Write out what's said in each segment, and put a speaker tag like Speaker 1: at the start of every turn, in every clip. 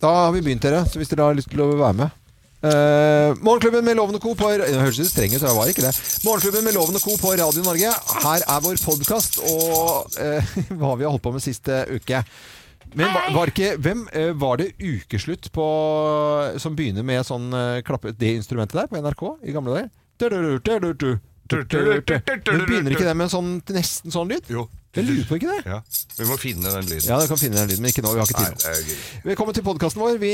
Speaker 1: Da har vi begynt, dere. Så hvis dere har lyst til å være med Eh, Morgenklubben med Lovende Co. på Det høres litt streng ut, jeg var ikke det. Morgenklubben med Lovende Co. på Radio Norge. Her er vår podkast og eh, hva vi har holdt på med siste uke. Men var, var ikke Hvem eh, var det ukeslutt på som begynner med sånn eh, klappe Det instrumentet der på NRK i gamle dager? Du-du-du, du-du-du, du-du-du. Men begynner ikke det med en sånn, nesten sånn lyd?
Speaker 2: Jo.
Speaker 1: Jeg lurer på ikke det.
Speaker 2: Ja. Vi må finne den lyden.
Speaker 1: Ja, du kan finne den lyden, men ikke nå. Vi har ikke
Speaker 2: Nei,
Speaker 1: tid nå.
Speaker 2: det er jo gøy.
Speaker 1: Velkommen til podkasten vår. Vi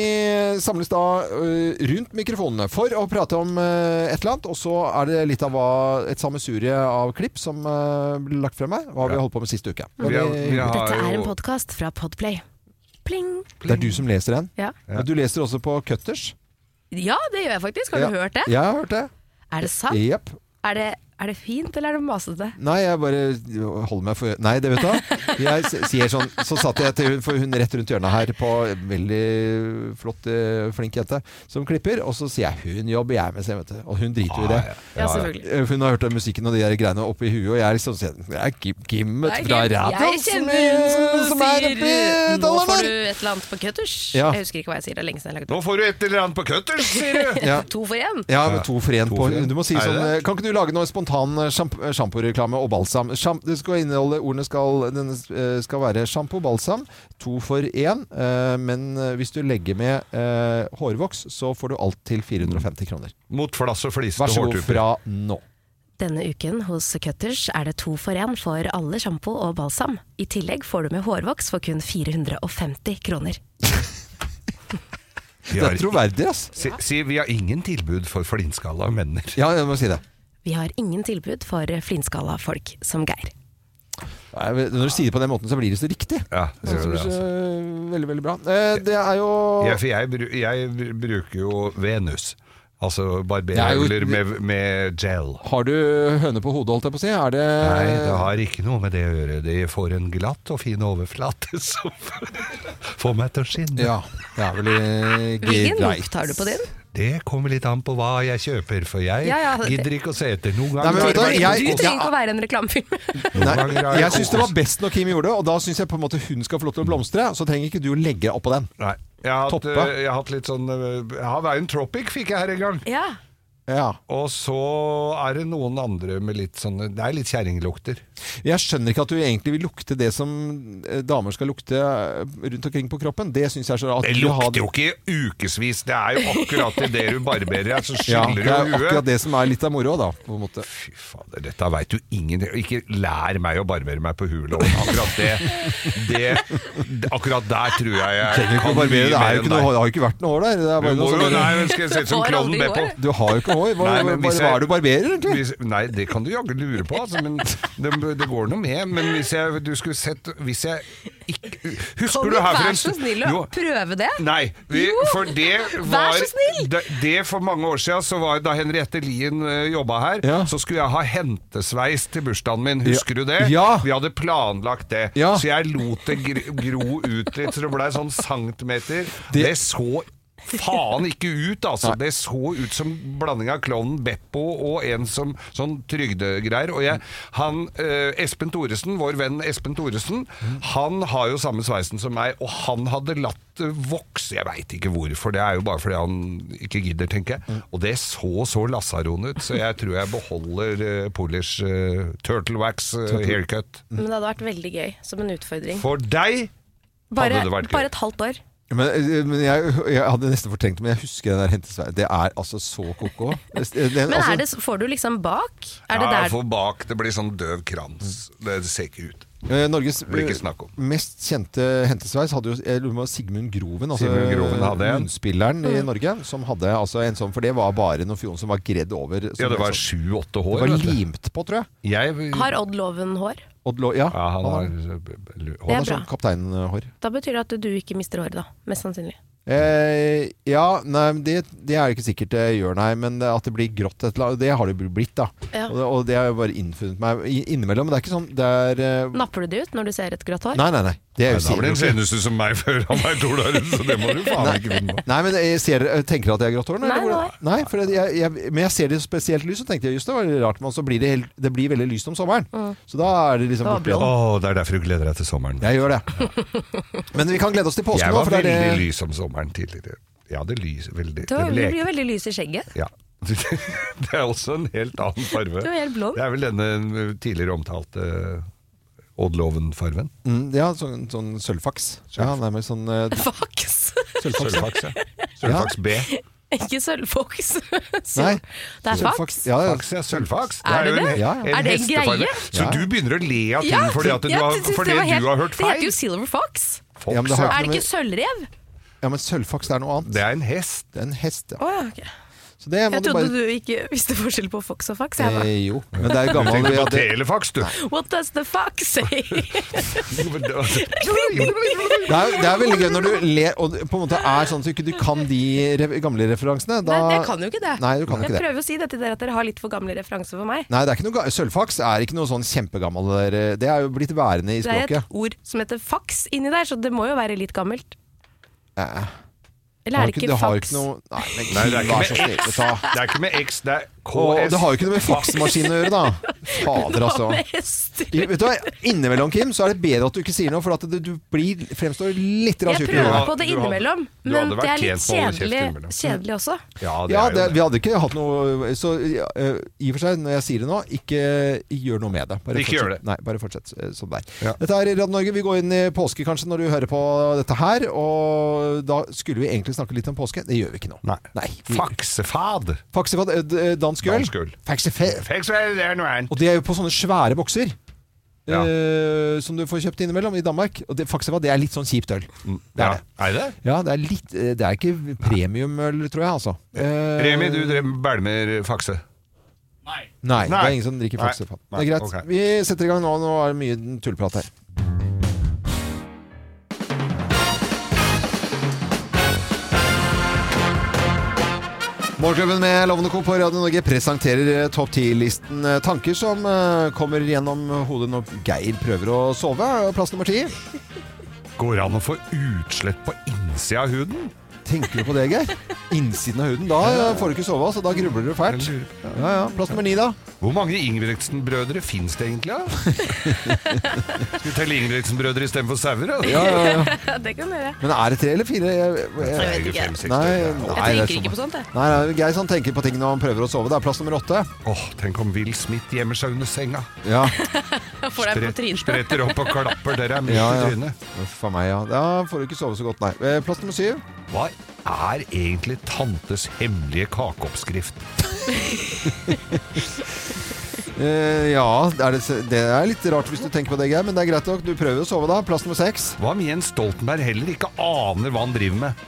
Speaker 1: samles da ø, rundt mikrofonene for å prate om ø, et eller annet. Og så er det litt av hva, et sammensurie av klipp som ø, blir lagt frem her. Hva vi har holdt på med siste uke. Og
Speaker 2: Vi har, vi
Speaker 1: det,
Speaker 2: har
Speaker 3: Dette er en
Speaker 2: jo
Speaker 3: podkast fra Podplay. Pling!
Speaker 1: det er du som leser den.
Speaker 3: Ja.
Speaker 1: Og Du leser også på Cutters.
Speaker 3: ja, det gjør jeg faktisk. Har du
Speaker 1: Ja.
Speaker 3: hørt det?
Speaker 1: Jeg har hørt det.
Speaker 3: Er det sant?
Speaker 1: Jepp.
Speaker 3: Er det, er det fint, eller er det masete?
Speaker 1: Nei, jeg bare holder meg for Nei, det vet du hva. Jeg s- sier sånn Så satt jeg til hun, for hun rett rundt hjørnet her på en veldig flott, eh, flink jente som klipper, og så sier jeg 'hun jobber jeg med', sier jeg, vet du. Og hun driter jo i det.
Speaker 2: Ah,
Speaker 3: Ja, selvfølgelig.
Speaker 1: Eh, for Hun har hørt den musikken og de der greiene oppi huet, og jeg er liksom sånn Det er Kim, Kim vet du, fra
Speaker 3: Jeg
Speaker 1: radioen som, eh, som er oppi
Speaker 3: sier 'nå får du
Speaker 1: dollaren!
Speaker 3: et eller annet på cutters'.
Speaker 1: Ja.
Speaker 3: Jeg husker ikke hva jeg sier, det er lenge siden jeg lagde
Speaker 2: Nå får du et eller annet på cutters, sier du!
Speaker 1: Ja.
Speaker 3: To for én.
Speaker 1: Ja, med to for én
Speaker 2: To
Speaker 1: på
Speaker 2: for en.
Speaker 1: Du må si
Speaker 2: Er det
Speaker 1: sånn
Speaker 2: det?
Speaker 1: eh, Kan ikke du lage noe spontan eh, sjamp- eh, sjamporeklame og balsam? Sjamp, det skal inneholde Ordene skal, den eh, skal være sjampo, balsam, to for én. eh, Men eh, hvis du legger med eh, hårvoks, så får du alt til 450 kroner.
Speaker 2: Mot flass og fliste
Speaker 1: Vær så god
Speaker 2: Mm. hårtupper.
Speaker 1: fra nå.
Speaker 3: Denne uken hos Cutters er det to for én for alle sjampo og balsam. I tillegg får du med hårvoks for kun 450 kroner.
Speaker 2: Vi
Speaker 1: Det
Speaker 2: har-
Speaker 1: er troverdig, ass.
Speaker 2: Si, si vi har ingen tilbud for flintskalla menner.
Speaker 1: Ja, jeg må si det.
Speaker 3: Vi har ingen tilbud for flintskalla folk som Geir.
Speaker 1: Nei, men Når du sier det på den måten, så blir det så riktig.
Speaker 2: Ja,
Speaker 1: Det
Speaker 2: gjør det,
Speaker 1: blir
Speaker 2: altså.
Speaker 1: så veldig, veldig bra. Eh, Det er jo
Speaker 2: Ja, for jeg, bru- jeg br- bruker jo Venus. Altså
Speaker 1: Det er
Speaker 2: barberhøvler
Speaker 1: jo-
Speaker 2: med, med gel.
Speaker 1: Har du høne på hodet, holdt jeg på å si? Er det
Speaker 2: Nei, det har ikke noe med det å gjøre. De får en glatt og fin overflate som får meg til å skinne.
Speaker 1: Ja. Det er vel i
Speaker 3: Hvilken
Speaker 1: greit.
Speaker 3: lukt har du på din?
Speaker 2: Det kommer litt an på hva jeg kjøper, for jeg
Speaker 3: Ja, ja, det-
Speaker 2: gidder ikke å se etter. Noen
Speaker 1: Nei, men
Speaker 2: ganger,
Speaker 1: vet du hva,
Speaker 2: er, det,
Speaker 1: jeg-
Speaker 3: Du trenger ikke å være en reklamefilm.
Speaker 2: noen
Speaker 1: Nei,
Speaker 2: ganger er
Speaker 1: jeg syns det var
Speaker 2: kokos.
Speaker 1: best når Kim gjorde det, og da syns jeg på en måte hun skal få lov til å blomstre. Så trenger ikke du å legge deg oppå den.
Speaker 2: Nei, jeg har, hatt,
Speaker 1: Toppe.
Speaker 2: øh, jeg har hatt litt sånn øh, Jeg har Veien Tropic fikk jeg her en gang.
Speaker 3: Ja.
Speaker 1: Ja.
Speaker 2: Og så er det noen andre med litt sånne Det er litt kjerringlukter.
Speaker 1: Jeg skjønner ikke at du egentlig vil lukte det som eh, damer skal lukte eh, rundt omkring på kroppen. Det syns jeg er så rart.
Speaker 2: Det
Speaker 1: Du har-
Speaker 2: lukter jo ikke i ukevis. Det er jo akkurat i det du barberer deg, så
Speaker 1: ja,
Speaker 2: skyller
Speaker 1: Det er
Speaker 2: du
Speaker 1: akkurat
Speaker 2: huet.
Speaker 1: det som er litt av moroa, da. På en måte.
Speaker 2: Fy fader, dette veit du ingen Ikke lær meg å barbere meg på hulåren. Akkurat det, det Akkurat der tror jeg jeg
Speaker 1: Trenger ikke å barbere, det, er jo
Speaker 2: deg.
Speaker 1: ikke noe, det har jo ikke vært noe hår der. Det er
Speaker 2: Du
Speaker 1: bare
Speaker 2: må
Speaker 1: noe
Speaker 2: jo,
Speaker 1: sånn,
Speaker 2: nei, men skal jeg se ut som
Speaker 3: Får aldri
Speaker 2: klovnen Beppo.
Speaker 3: hår.
Speaker 1: du har jo ikke hår. Hva,
Speaker 2: Nei, men
Speaker 1: hva,
Speaker 2: hvis
Speaker 1: hva
Speaker 2: jeg-
Speaker 1: er det du barberer, egentlig?
Speaker 2: Hvis, nei, det kan du jaggu lure på, altså, men det, det går noe med. Men hvis jeg, du skulle sett Hvis jeg ikke Husker
Speaker 3: Kan du
Speaker 2: du her for
Speaker 3: være
Speaker 2: en
Speaker 3: så
Speaker 2: stund-
Speaker 3: snill å
Speaker 2: Jo,
Speaker 3: prøve det?
Speaker 2: Nei, vi,
Speaker 3: Jo,
Speaker 2: for det var
Speaker 3: vær så snill!
Speaker 2: Det, det for mange år siden, så var da Henriette Lien uh, jobba her,
Speaker 1: Ja.
Speaker 2: så skulle jeg ha hentesveis til bursdagen min, husker
Speaker 1: Ja.
Speaker 2: du det?
Speaker 1: Ja.
Speaker 2: Vi hadde planlagt det,
Speaker 1: Ja.
Speaker 2: så jeg lot det gr- gro ut litt, så det blei sånn centimeter.
Speaker 1: Det-
Speaker 2: Det, så faen ikke ut, altså.
Speaker 1: Nei.
Speaker 2: Det så ut som blanding av klovnen Beppo og en som sånn trygdegreier. Og jeg, han eh, Espen Thoresen, vår venn Espen Thoresen, han har jo samme sveisen som meg, og han hadde latt det vokse. Jeg veit ikke hvorfor, det er jo bare fordi han ikke gidder, tenker jeg. Og det så så lasaron ut, så jeg tror jeg beholder eh, Polish eh, turtle wax eh, haircut.
Speaker 3: Men det hadde vært veldig gøy som en utfordring.
Speaker 2: For deg
Speaker 3: Bare,
Speaker 2: hadde det vært gøy.
Speaker 3: bare et halvt år.
Speaker 1: Men, eh, men jeg, jeg hadde nesten fortrengt det, men jeg husker den der hentesveien. Det er altså så ko-ko.
Speaker 3: Men
Speaker 1: altså,
Speaker 3: er det, får du liksom bak? Er det
Speaker 2: altså- ja,
Speaker 3: der
Speaker 2: for bak det blir sånn døv krans. Det ser ikke ut.
Speaker 1: Eh, Norges
Speaker 2: Blir ikke
Speaker 1: eh,
Speaker 2: snakk om.
Speaker 1: mest kjente hentesveis hadde jo jeg lurer på om det var Sigmund Groven, altså
Speaker 2: Sigmund Groven hadde en.
Speaker 1: munnspilleren i
Speaker 3: Mm.
Speaker 1: Norge, som hadde altså en sånn, for det var bare noen fjorden som var gredd over. som
Speaker 2: Ja, det
Speaker 1: var
Speaker 2: var
Speaker 1: sånn-
Speaker 2: sju-åtte
Speaker 1: det
Speaker 2: hår.
Speaker 1: var
Speaker 2: vet du.
Speaker 1: limt på, tror jeg.
Speaker 2: Jeg,
Speaker 3: Har Odd Loven hår?
Speaker 1: Odd Lo- ja,
Speaker 2: ja, han
Speaker 1: han
Speaker 2: har
Speaker 1: har-
Speaker 3: Det
Speaker 2: hår.
Speaker 3: er
Speaker 1: han har sånn kapteinhår.
Speaker 3: Da betyr det at du ikke mister håret, da. Mest sannsynlig.
Speaker 1: Eh, ja, nei, men det, det er ikke sikkert det gjør, nei, men at det blir grått et eller annet, det har det blitt, da.
Speaker 3: Ja.
Speaker 1: Og, det, og det har jo bare innfunnet meg i- innimellom. Men det er ikke sånn det er eh,
Speaker 3: Napper du det ut når du ser et grått hår?
Speaker 1: Nei, nei, nei. Det er
Speaker 2: Nei,
Speaker 1: jo
Speaker 2: da ble han
Speaker 1: sikkert ikke.
Speaker 2: senest ut som meg før han var dolaren, så det må du faen ikke finne på.
Speaker 1: Nei, men jeg ser, tenker dere at jeg er grått hår?
Speaker 3: Nei,
Speaker 1: nei for jeg, jeg, men jeg ser det i spesielt lys, og tenkte jeg just det var litt rart. Men så blir det, helt, det blir veldig lyst om sommeren. Så da er det liksom
Speaker 3: Da var
Speaker 1: borte.
Speaker 3: blond.
Speaker 2: Å, det er derfor du gleder deg til sommeren.
Speaker 1: Jeg gjør det. Men vi kan glede oss til påsken
Speaker 2: Jeg
Speaker 1: nå.
Speaker 2: var
Speaker 1: For det
Speaker 2: veldig
Speaker 1: er det,
Speaker 2: lys om sommeren tidligere. Jeg hadde lys veldig.
Speaker 3: Du har-
Speaker 2: det
Speaker 3: du
Speaker 2: blek-
Speaker 3: blir jo veldig lys i skjegget.
Speaker 2: Ja. Det er også en helt annen farve.
Speaker 3: Du er helt blond.
Speaker 2: Det er vel denne eh, tidligere omtalte eh, Oddloven-farven.
Speaker 1: mm, ja, sånn, sånn sølvfaks. Ja, nærmest sånn eh,
Speaker 3: Faks!
Speaker 1: sølvfaks. ja.
Speaker 2: Sølvfaks, ja. Sølvfaks B.
Speaker 3: Ikke sølvfoks.
Speaker 1: Nei.
Speaker 3: Sølv- Det er faks.
Speaker 1: Ja, ja.
Speaker 2: Faks, ja. Sølvfaks.
Speaker 3: Er det
Speaker 2: jo en-
Speaker 3: det?
Speaker 1: Ja, ja.
Speaker 2: en
Speaker 3: Er det en
Speaker 2: hestefarve.
Speaker 3: greie?
Speaker 2: Så
Speaker 1: Ja.
Speaker 2: du begynner å le av ting
Speaker 3: Ja,
Speaker 2: fordi, at du,
Speaker 3: ja,
Speaker 2: har,
Speaker 3: det synes jeg
Speaker 2: fordi
Speaker 3: var helt-
Speaker 2: du har hørt
Speaker 3: Det heter
Speaker 2: feil?
Speaker 3: jo silver fox.
Speaker 2: Fox,
Speaker 1: Ja, men det har-
Speaker 2: ja.
Speaker 3: Er det
Speaker 1: men-
Speaker 3: ikke sølvrev?
Speaker 1: ja, men sølvfaks det er noe annet.
Speaker 2: det er en hest.
Speaker 1: Det er en hest, ja.
Speaker 3: Å ja, ok.
Speaker 1: Så det må
Speaker 3: Jeg
Speaker 1: du
Speaker 3: trodde
Speaker 1: bare
Speaker 3: du ikke visste forskjell på fox og fax. Jeg
Speaker 1: eh,
Speaker 3: bare,
Speaker 1: Jo, men det er jo
Speaker 2: Du
Speaker 1: gammel
Speaker 2: tenker
Speaker 1: ja,
Speaker 2: på
Speaker 1: det,
Speaker 2: telefax, du.
Speaker 3: What does the fox say?
Speaker 1: det, er, det er veldig gøy når du ler og det på en måte er sånn at du ikke du kan de re gamle referansene. Da,
Speaker 3: Nei, det kan jo ikke det.
Speaker 1: Nei, du kan
Speaker 3: jeg
Speaker 1: ikke det.
Speaker 3: prøver å si det til dere at dere har litt for gamle referanser for meg.
Speaker 1: Nei, det er ikke noe, ga- sølvfaks er ikke noe sånn kjempegammel eh, Det er jo blitt værende i
Speaker 3: Det er et
Speaker 1: språket.
Speaker 3: ord som heter fax inni der, så det må jo være litt gammelt.
Speaker 1: Eh,
Speaker 3: Eller er
Speaker 1: har
Speaker 3: det
Speaker 1: ikke-
Speaker 3: ikke
Speaker 1: har
Speaker 3: fax?
Speaker 1: ikke noe Nei, men
Speaker 2: Nei, det er ikke
Speaker 1: Kim, vær så snill. ta-
Speaker 2: Det er ikke med X, det er
Speaker 1: Og
Speaker 2: KS.
Speaker 1: det har jo ikke noe med faksmaskinen å gjøre, da. Fader, altså.
Speaker 3: Med hester.
Speaker 1: I, vet du hva, Innimellom, Kim, så er det bedre at du ikke sier noe, for at du, du blir, fremstår litt rann
Speaker 3: Jeg
Speaker 1: tjukk i
Speaker 3: prøver
Speaker 1: huet.
Speaker 2: Ja,
Speaker 3: på det
Speaker 2: du hadde-
Speaker 3: innimellom,
Speaker 2: du
Speaker 3: men
Speaker 2: hadde vært
Speaker 3: det er litt
Speaker 2: tjent med å holde kjeft
Speaker 3: kjedelig,
Speaker 2: innimellom.
Speaker 3: kjedelig også.
Speaker 2: Ja, det
Speaker 1: Ja,
Speaker 2: er jo
Speaker 1: det,
Speaker 2: det.
Speaker 1: vi hadde ikke hatt noe Så ja, eh, i og for seg, når jeg sier det nå, ikke gjør noe med det. Bare
Speaker 2: Ikke
Speaker 1: fortsett.
Speaker 2: gjør det.
Speaker 1: Nei, bare fortsett eh, som der.
Speaker 2: Ja.
Speaker 1: Dette er Radio Norge. Vi går inn i påske kanskje når du hører på dette her. Og da skulle vi egentlig snakke litt om påske. Det gjør vi ikke nå.
Speaker 2: Nei.
Speaker 1: Nei.
Speaker 2: Faksefad.
Speaker 1: Faksefad, eh, d- eh, dansk øl.
Speaker 2: Dansk øl.
Speaker 1: Faksefe-
Speaker 2: Faksefad, det er noe annet.
Speaker 1: Og det er jo på sånne svære bokser.
Speaker 2: Ja.
Speaker 1: eh, som du får kjøpt innimellom i Danmark. Og det, Faksefad, det er litt sånn kjipt øl. Det
Speaker 2: Mm. Ja,
Speaker 1: er det.
Speaker 2: er det?
Speaker 1: Ja, det er litt eh, Det er ikke premiumøl, tror jeg, altså. Eh,
Speaker 2: Remi, du drev bælmer fakse.
Speaker 1: Nei, det
Speaker 2: Nei.
Speaker 1: er ingen som drikker
Speaker 2: Nei.
Speaker 1: faksefat. Det er
Speaker 2: Nei,
Speaker 1: greit.
Speaker 2: ok.
Speaker 1: Vi setter i gang nå. Nå er det mye tullprat her. Morgenklubben med Lovende Co. på Radio Norge presenterer topp 10-listen eh, tanker som eh, kommer gjennom hodet når Geir prøver å sove. Er det Plass nummer ti.
Speaker 2: Går det an å få utslett på innsida av huden?
Speaker 1: Tenker du på det, Geir? Innsiden av huden. Da eh, får du ikke sove, så da grubler du fælt. Ja, ja. Plass nummer ni, da.
Speaker 2: Hvor mange Ingebrigtsen-brødre fins det egentlig? da? Skal vi telle Ingebrigtsen-brødre istedenfor sauer? da?
Speaker 1: Ja, ja, ja.
Speaker 3: Ja, det kan dere.
Speaker 1: Men er det tre eller fire? Jeg, jeg,
Speaker 2: Det er jo
Speaker 3: ikke.
Speaker 2: fem, seks
Speaker 1: Nei,
Speaker 2: stykker, ja.
Speaker 1: nei,
Speaker 3: Jeg
Speaker 1: det
Speaker 3: tenker
Speaker 1: er sånn.
Speaker 3: ikke på sånt, jeg.
Speaker 1: Nei, nei, Geir sånn tenker på ting når han prøver å sove. Det er plass nummer åtte.
Speaker 2: Åh, tenk om Will Smith gjemmer seg under senga.
Speaker 1: Ja,
Speaker 3: Jeg får deg på
Speaker 2: Spret-
Speaker 3: trynet.
Speaker 2: Spretter opp og klapper. Dere er midt
Speaker 1: ja,
Speaker 2: i
Speaker 1: ja.
Speaker 2: trynet.
Speaker 1: Uff a meg, ja. Da får du ikke sove så godt, nei. Eh, Plass nummer syv.
Speaker 2: Hva er egentlig tantes hemmelige kakeoppskrift?
Speaker 1: Eh, ja, det er, det, det er litt rart hvis du tenker på det, Geir, men det er greit nok. Du prøver å sove da. Plass nummer seks.
Speaker 2: Hva om Jens Stoltenberg heller ikke aner hva han driver med?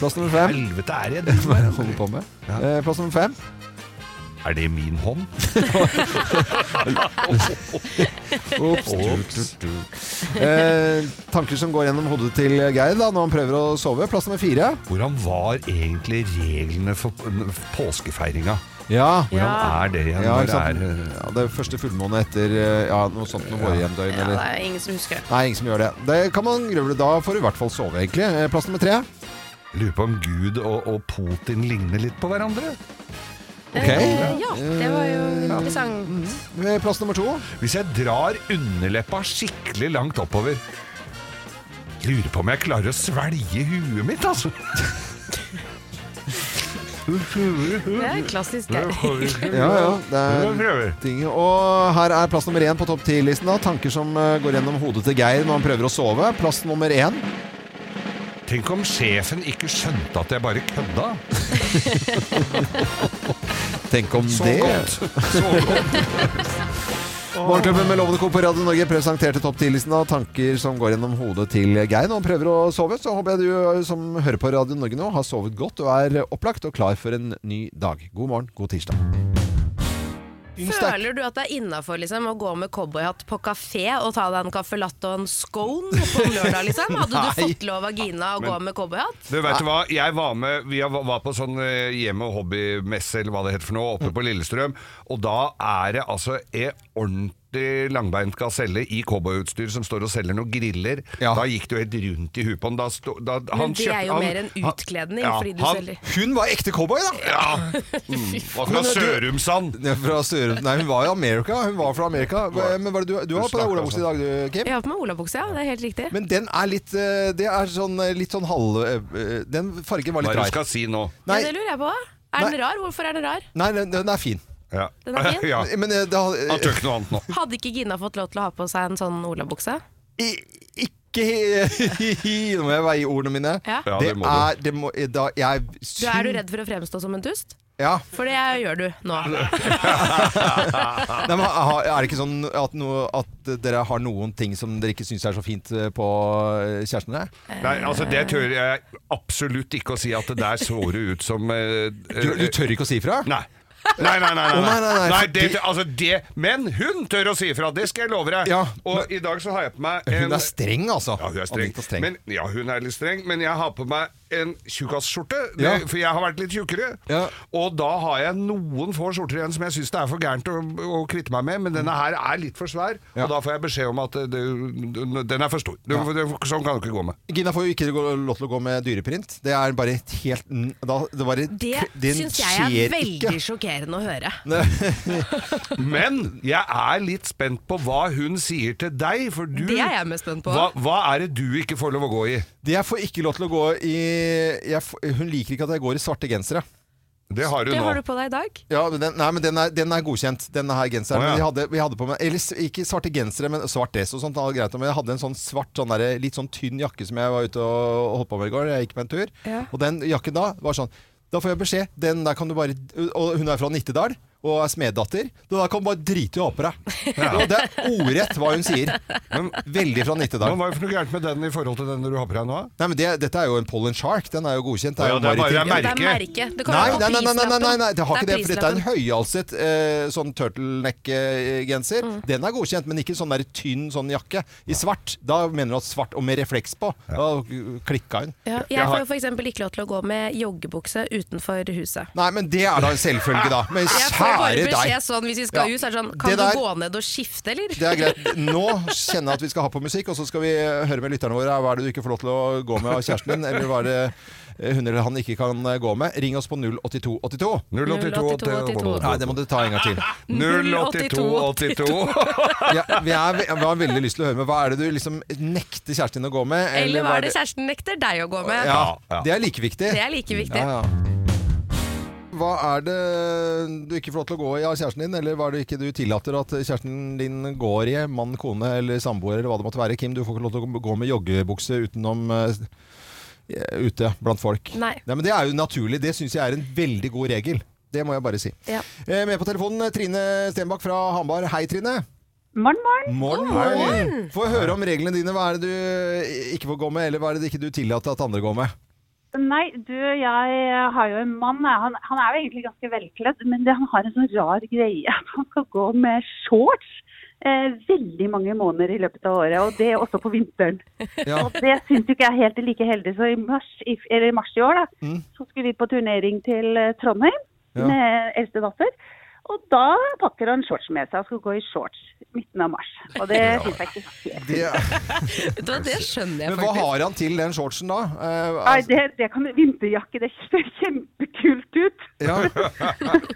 Speaker 1: Plass nummer fem.
Speaker 2: Helvete er jeg
Speaker 1: Hva er det
Speaker 2: driver
Speaker 1: han holder
Speaker 2: med?
Speaker 1: på med?
Speaker 2: Ja.
Speaker 1: Eh, plass nummer fem.
Speaker 2: Er det min hånd?
Speaker 1: Ops.
Speaker 2: Ops.
Speaker 1: Eh, tanker som går gjennom hodet til Geir da når han prøver å sove. Plass nummer fire.
Speaker 2: Hvordan var egentlig reglene for for påskefeiringa?
Speaker 1: Ja.
Speaker 2: Hvordan
Speaker 3: Ja.
Speaker 2: er det igjen?
Speaker 1: Ja,
Speaker 2: Når
Speaker 1: ikke sant?
Speaker 2: det er, eh,
Speaker 1: ja, det er første fullmåne etter eh, ja, noe sånt noe vårjevndøgn,
Speaker 3: Ja,
Speaker 1: eller
Speaker 3: det er ingen som husker det.
Speaker 1: Nei, ingen som gjør det. Det kan man grøvle. Da får du i hvert fall sove, egentlig. Eh, Plass nummer tre.
Speaker 2: Lurer på om Gud og, og Putin ligner litt på hverandre?
Speaker 1: Ok.
Speaker 3: Eh, Ja, det var jo
Speaker 1: Eh,
Speaker 3: interessant.
Speaker 1: Eh, Plass nummer to.
Speaker 2: Hvis jeg drar underleppa skikkelig langt oppover Lurer på om jeg klarer å svelge huet mitt, altså.
Speaker 3: Det er klassisk der.
Speaker 1: Ja, ja. Det
Speaker 2: Jeg
Speaker 1: er
Speaker 2: prøver.
Speaker 1: ting. Og her er plass nummer én på topp ti-listen. da. Tanker som eh, går gjennom hodet til Geir når han prøver å sove. Plass nummer én.
Speaker 2: Tenk om sjefen ikke skjønte at jeg bare kødda.
Speaker 1: Tenk om
Speaker 2: Så
Speaker 1: det.
Speaker 2: godt. Så godt.
Speaker 1: Morgenklubben med Lovende Co. på Radio Norge presenterte topp 10-listen av tanker som går gjennom hodet til Geir når han prøver å sove. Så håper jeg du eh, som hører på Radio Norge nå, har sovet godt og er opplagt og klar for en ny dag. God morgen, god tirsdag.
Speaker 3: Føler du at det er innafor liksom, å gå med cowboyhatt på kafé og ta deg en caffè latte og en scone på en lørdag? Liksom? Hadde du
Speaker 1: Nei.
Speaker 3: fått lov av Gina å gå med cowboyhatt?
Speaker 2: Du vet du hva, jeg var med Vi var på sånn eh, hjemme- og hobbymesse Eller hva det heter for noe, oppe på Lillestrøm Og da er det altså en ordentlig 40 langbeint gaselle i cowboyutstyr som står og selger noen griller.
Speaker 1: Ja.
Speaker 2: Da gikk det jo helt rundt i huet på han. Da sto, da,
Speaker 3: Men
Speaker 2: han
Speaker 3: det er
Speaker 2: kjøpte-
Speaker 3: jo
Speaker 2: han-
Speaker 3: mer en
Speaker 2: han-
Speaker 3: utkledning,
Speaker 2: ja,
Speaker 3: fordi du
Speaker 2: han-
Speaker 3: selger
Speaker 1: Hun var ekte cowboy, da!
Speaker 2: Ja! Mm. Var
Speaker 1: Men
Speaker 2: fra
Speaker 1: du-
Speaker 2: Sørumsand.
Speaker 1: Det er Fra Sør... Nei, hun var i Amerika. Hun var fra Amerika. Men hva er det du, du har på deg
Speaker 2: snakker
Speaker 1: olabukse i dag,
Speaker 2: altså.
Speaker 1: du, Kim?
Speaker 3: Jeg har på meg olabukse, ja. Det er helt riktig.
Speaker 1: Men den er litt eh, Det er sånn eh, litt sånn halv... eh, Den fargen var
Speaker 2: Hva
Speaker 1: litt
Speaker 2: er det du
Speaker 1: rar.
Speaker 2: skal si nå?
Speaker 3: ja,
Speaker 1: Nei,
Speaker 3: det lurer jeg på. Er den rar? Hvorfor er den rar?
Speaker 1: nei den, den er fin.
Speaker 2: Ja.
Speaker 3: Den er fin.
Speaker 2: ja.
Speaker 1: Men eh, det har-
Speaker 2: Han tør ikke noe annet nå.
Speaker 3: Hadde ikke Gina fått lov til å ha på seg en sånn olabukse?
Speaker 1: I- Ikke Nå må jeg veie ordene mine.
Speaker 3: Ja.
Speaker 2: Ja,
Speaker 1: det,
Speaker 2: det må du.
Speaker 1: er det må, eh, da, jeg,
Speaker 3: Du, er du redd for å fremstå som en dust?
Speaker 1: Ja.
Speaker 3: For det gjør du nå.
Speaker 1: Nei, men, ha- er det ikke sånn at, noe, at dere har noen ting som dere ikke syns er så fint eh, på eh, kjæresten der?
Speaker 2: Nei, altså Det tør jeg absolutt ikke å si, at det der så du ut som eh,
Speaker 1: Du, du
Speaker 2: eh,
Speaker 1: tør ikke å si ifra?
Speaker 2: Nei. Nei, nei, nei. nei,
Speaker 1: Å, nei, nei, nei, for
Speaker 2: det,
Speaker 1: det-
Speaker 2: altså det, men hun tør å si ifra, det skal jeg love deg.
Speaker 1: Ja,
Speaker 2: og i dag så har jeg på meg en
Speaker 1: Hun er streng, altså.
Speaker 2: Ja, hun er streng.
Speaker 1: Anita streng.
Speaker 2: Men, ja, hun er litt streng, men jeg har på meg en tjukkasskjorte, det-
Speaker 1: Ja.
Speaker 2: for jeg har vært litt tjukkere.
Speaker 1: Ja.
Speaker 2: Og da har jeg noen få skjorter igjen som jeg syns det er for gærent å, å kvitte meg med, men denne her er litt for svær,
Speaker 1: Ja.
Speaker 2: og da får jeg beskjed om at eh, det, den er for stor. Du,
Speaker 1: Ja.
Speaker 2: du, sånn kan du ikke gå med.
Speaker 1: Gina får jo ikke gå- lov til å gå med dyreprint. Det er bare et helt n- da, Det, bare,
Speaker 3: Det
Speaker 1: den
Speaker 3: syns jeg er
Speaker 1: skjer
Speaker 3: veldig
Speaker 1: ikke.
Speaker 3: sjokkerende å høre.
Speaker 2: Men jeg er litt spent på hva hun sier til deg, for du
Speaker 3: Det er jeg mest spent på.
Speaker 2: Hva, hva er det du ikke får lov å gå i?
Speaker 1: Det jeg får ikke lov til å gå i jeg, får- Hun liker ikke at jeg går i svarte gensere.
Speaker 2: Det har du
Speaker 3: Det
Speaker 2: nå.
Speaker 3: har du på deg i dag.
Speaker 1: Ja, men den, nei, men den er, den er godkjent, denne her genseren.
Speaker 2: Å, ja.
Speaker 1: Men vi hadde, vi hadde på meg Eller s- ikke svarte gensere, men svart dress og sånt. det var Greit, men jeg hadde en sånn svart, sånn der, litt sånn tynn jakke som jeg var ute og holdt på med i går. Jeg gikk på en tur.
Speaker 3: Ja.
Speaker 1: Og den jakken da var sånn Da får jeg beskjed. Den der kan du bare Og hun er fra Nittedal. Og er smeddatter. Det der kan du bare drite i å ha på deg. Og Det er ordrett hva hun sier.
Speaker 2: Men-
Speaker 1: Veldig fra
Speaker 2: Hva
Speaker 1: Nittedal.
Speaker 2: var det for noe gærent med den i forhold til den du har på deg nå?
Speaker 1: Nei, men det, Dette er jo en Pollen Shark. Den er jo godkjent.
Speaker 2: Å, ja, det er bare-
Speaker 1: maritim.
Speaker 2: det er
Speaker 3: Det er merke.
Speaker 2: Merke.
Speaker 3: Det kan
Speaker 1: Nei,
Speaker 3: være på
Speaker 1: nei, nei, nei, nei, nei, nei, det har
Speaker 3: prislappen.
Speaker 1: ikke det, for dette er en
Speaker 3: prislappen.
Speaker 1: høyhalset eh, sånn turtleneck-genser.
Speaker 3: Mm.
Speaker 1: Den er godkjent, men ikke sånn der tynn sånn jakke i svart. Da mener du at svart og med refleks på. Da klikka hun.
Speaker 3: Ja,
Speaker 2: Jeg
Speaker 3: jeg får jo
Speaker 2: har-
Speaker 3: f.eks. ikke lov til å gå med joggebukse utenfor huset.
Speaker 1: Nei, men det er da en selvfølge, da. Men
Speaker 3: Jeg får bare
Speaker 1: kjære
Speaker 3: beskjed
Speaker 1: deg.
Speaker 3: sånn hvis vi skal
Speaker 1: Ja.
Speaker 3: ut, så er det sånn
Speaker 1: Det
Speaker 3: Kan du
Speaker 1: der-
Speaker 3: gå ned og skifte, eller?
Speaker 1: Det er greit. Nå kjenner jeg at vi skal ha på musikk, og så skal vi eh, høre med lytterne våre. Hva er det du ikke får lov til å gå med av kjæresten din, eller hva er det eh, hun eller han ikke kan eh, gå med? Ring oss på 08282.
Speaker 3: 082.
Speaker 1: Nei, det må du ta en gang til.
Speaker 2: 08282.
Speaker 1: Ja, vi, er, vi har veldig lyst til å høre med. Hva er det du liksom nekter kjæresten din å gå med?
Speaker 3: Eller hva er det kjæresten nekter deg å gå med?
Speaker 1: Ja,
Speaker 2: Ja.
Speaker 1: Det er like viktig.
Speaker 3: Det er like viktig.
Speaker 1: Ja, ja. Hva er det du ikke får lov til å gå i av kjæresten din, eller hva er det ikke du tillater at kjæresten din går i? Mann, kone eller samboer eller hva det måtte være. Kim, du får ikke lov til å gå med joggebukse utenom eh, ute blant folk.
Speaker 3: Nei.
Speaker 1: Men det er jo naturlig. Det syns jeg er en veldig god regel. Det må jeg bare si.
Speaker 3: Ja.
Speaker 1: Eh, med på telefonen eh, Trine Stenbakk fra Hamar. Hei, Trine.
Speaker 4: Morgen, morgen.
Speaker 1: Morgen, morgen. Få høre om reglene dine. Hva er det du eh, ikke får gå med, eller hva er det ikke du tillater at andre går med?
Speaker 4: Nei, du, jeg har jo en mann. jeg. Han, han er jo egentlig ganske velkledd, men det, han har en sånn rar greie. Han skal gå med shorts eh, veldig mange måneder i løpet av året, og det også på vinteren.
Speaker 1: Ja.
Speaker 4: Og det syns jo ikke jeg helt er like heldig, så i mars i, eller i, mars i år da,
Speaker 1: Mm.
Speaker 4: så skulle vi på turnering til eh, Trondheim
Speaker 1: Ja.
Speaker 4: med eldste datter. Og da pakker han shorts med seg og skal gå i shorts midten av mars. Og det syns jeg ikke helt
Speaker 1: Det,
Speaker 3: Vet du hva, Det skjønner jeg
Speaker 1: men hva
Speaker 3: faktisk.
Speaker 1: har han til den shortsen, da? Eh,
Speaker 4: Nei,
Speaker 1: altså-
Speaker 4: det, det kan vinterjakke, det ser kjempekult ut.
Speaker 1: ja.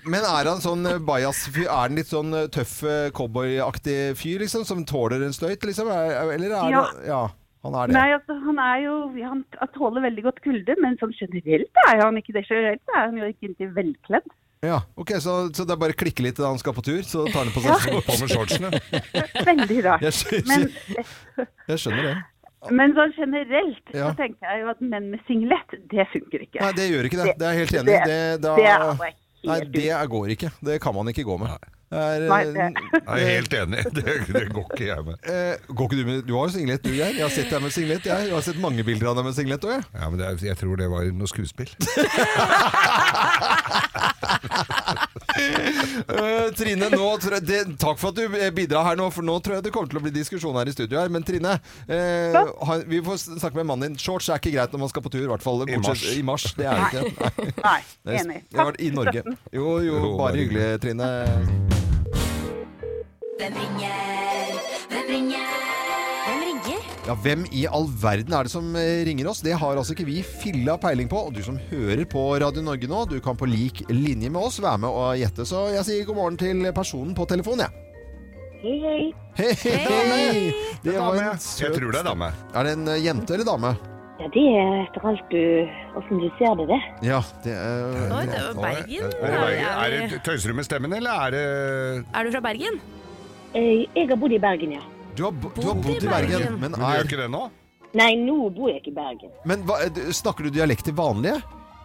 Speaker 1: Men er han sånn eh, bajas-fyr? Er han litt sånn eh, tøff eh, cowboyaktig fyr, liksom? Som tåler en støyt, liksom? Er- Eller er
Speaker 4: Ja.
Speaker 1: det Ja, han er det.
Speaker 4: Nei, altså, han er jo Han tåler veldig godt kulde, men sånn generelt er han ikke det. Generelt er han jo ikke egentlig velkledd.
Speaker 1: Ja. Ok, så, så det er bare å klikke litt da han skal på tur, så tar han på seg shorts.
Speaker 2: På med shortsene.
Speaker 4: Veldig rart.
Speaker 1: Jeg skjønner,
Speaker 4: Men,
Speaker 1: jeg skjønner det.
Speaker 4: men sånn generelt
Speaker 1: Ja.
Speaker 4: så tenker jeg jo at menn med singlet, det funker ikke.
Speaker 1: Nei, det gjør ikke det.
Speaker 4: Det-
Speaker 1: Det er jeg helt enig i.
Speaker 4: det-
Speaker 1: Det, da-
Speaker 4: det er bare
Speaker 1: Nei,
Speaker 4: helt
Speaker 1: det er- går ikke. Det kan man ikke gå med. Det er,
Speaker 4: Nei, det-
Speaker 2: Jeg er helt enig. Det, det går ikke jeg med.
Speaker 1: eh, går ikke du med Du har jo singlet, du, Geir. Jeg har sett deg med singlet. Jeg, jeg har sett mange bilder av deg med singlet òg, jeg.
Speaker 2: Ja, men det, er- jeg tror det var noe skuespill.
Speaker 1: Eh, Trine, nå, tror jeg- det, takk for at du eh, bidrar her nå, for nå tror jeg det kommer til å bli diskusjon her i studio her. Men Trine, eh, ha, vi får snakke med mannen din. Shorts er ikke greit når man skal på tur, i hvert fall.
Speaker 2: I
Speaker 1: Bortsett
Speaker 2: mars.
Speaker 1: i mars. Det er det ikke. Nei.
Speaker 4: Nei,
Speaker 1: Det er-
Speaker 4: enig.
Speaker 1: Jeg har vært i Norge. Jo, jo,
Speaker 2: Jo,
Speaker 1: bare
Speaker 2: bare
Speaker 1: hyggelig, Trine.
Speaker 5: Hvem ringer? Hvem ringer? Hvem ringer?
Speaker 1: Ja, Hvem i all verden er det som eh, ringer oss? Det har altså ikke vi filla peiling på. Og du som hører på Radio Norge nå, du kan på lik linje med oss være med og gjette. Så jeg sier god morgen til personen på telefonen, jeg.
Speaker 4: Hei, hei.
Speaker 1: Hei,
Speaker 3: Hei!
Speaker 1: Det var en
Speaker 2: Jeg
Speaker 1: søt
Speaker 2: tror det er dame.
Speaker 1: Er det en eh, jente eller dame?
Speaker 6: Ja, det er etter alt du Åssen du ser det, det.
Speaker 1: Ja, det er
Speaker 3: Oi, det var Bergen.
Speaker 2: Er det, Bergen?
Speaker 3: Ja,
Speaker 2: er det Tøyser du med stemmen, eller er det
Speaker 3: Er du fra Bergen?
Speaker 6: Jeg, Eh, jeg har bodd i Bergen, ja.
Speaker 1: Du har, bo- du har bodd i Bergen, men,
Speaker 2: Men du gjør
Speaker 1: er,
Speaker 2: ikke det nå?
Speaker 6: Nei, nå bor jeg ikke i Bergen.
Speaker 1: men hva, eh, snakker du dialekt til vanlige?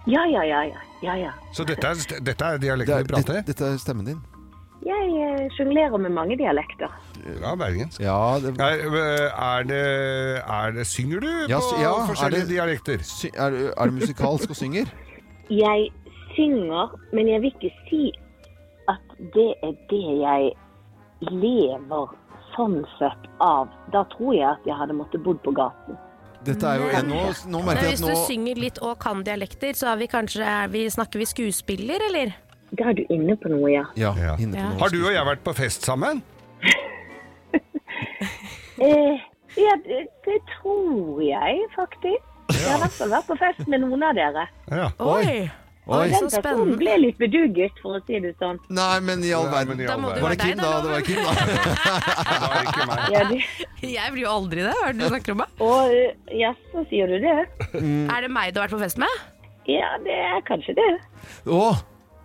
Speaker 6: Ja, ja, ja. ja, ja, ja.
Speaker 2: Så dette er, dette er
Speaker 1: Det
Speaker 2: dialekten
Speaker 1: er,
Speaker 2: vi prater?
Speaker 1: det, dette er stemmen din?
Speaker 6: Jeg eh, sjonglerer med mange dialekter.
Speaker 2: Ja, Bergen.
Speaker 1: Ja, det,
Speaker 2: Er, er, det, er det Synger du
Speaker 1: Ja,
Speaker 2: på
Speaker 1: sy- ja, er
Speaker 2: forskjellige
Speaker 1: det-
Speaker 2: dialekter?
Speaker 1: sy, er, du- er du musikalsk og synger?
Speaker 6: Jeg synger, men jeg vil ikke si at det er det jeg lever sånn sett av. Da tror jeg at jeg hadde måttet bodd på gaten.
Speaker 1: Dette er jo en, nå, nå
Speaker 3: Men
Speaker 1: merker jeg
Speaker 3: hvis
Speaker 1: at
Speaker 3: du
Speaker 1: nå
Speaker 3: synger litt og kan dialekter, så er vi kanskje, er vi, snakker vi skuespiller, eller?
Speaker 6: Da er du inne på noe, ja.
Speaker 1: ja,
Speaker 2: Ja.
Speaker 1: inne på
Speaker 3: Ja.
Speaker 1: noe
Speaker 2: Har du og jeg vært på fest sammen?
Speaker 6: Eh, ja det, det tror jeg faktisk. Jeg har i hvert fall vært på fest med noen av dere.
Speaker 2: Ja.
Speaker 3: Oi! Oi,
Speaker 1: Oi.
Speaker 3: så
Speaker 6: Den personen
Speaker 3: spennende.
Speaker 6: ble litt bedugget, for å si det sånn.
Speaker 1: Nei, men i all
Speaker 2: Nei, men
Speaker 1: verden.
Speaker 2: i
Speaker 3: Da
Speaker 2: all
Speaker 3: må du
Speaker 2: verden.
Speaker 1: Var det Kim, da? Det var Kim, da.
Speaker 2: Det var ikke meg.
Speaker 6: Ja, du,
Speaker 3: Jeg blir jo aldri det. Hva er det du snakker om? da?
Speaker 6: og eh, jaså, sier du det?
Speaker 1: Mm.
Speaker 3: Er det meg du har vært på fest med?
Speaker 6: Ja, det er kanskje det.
Speaker 1: Å,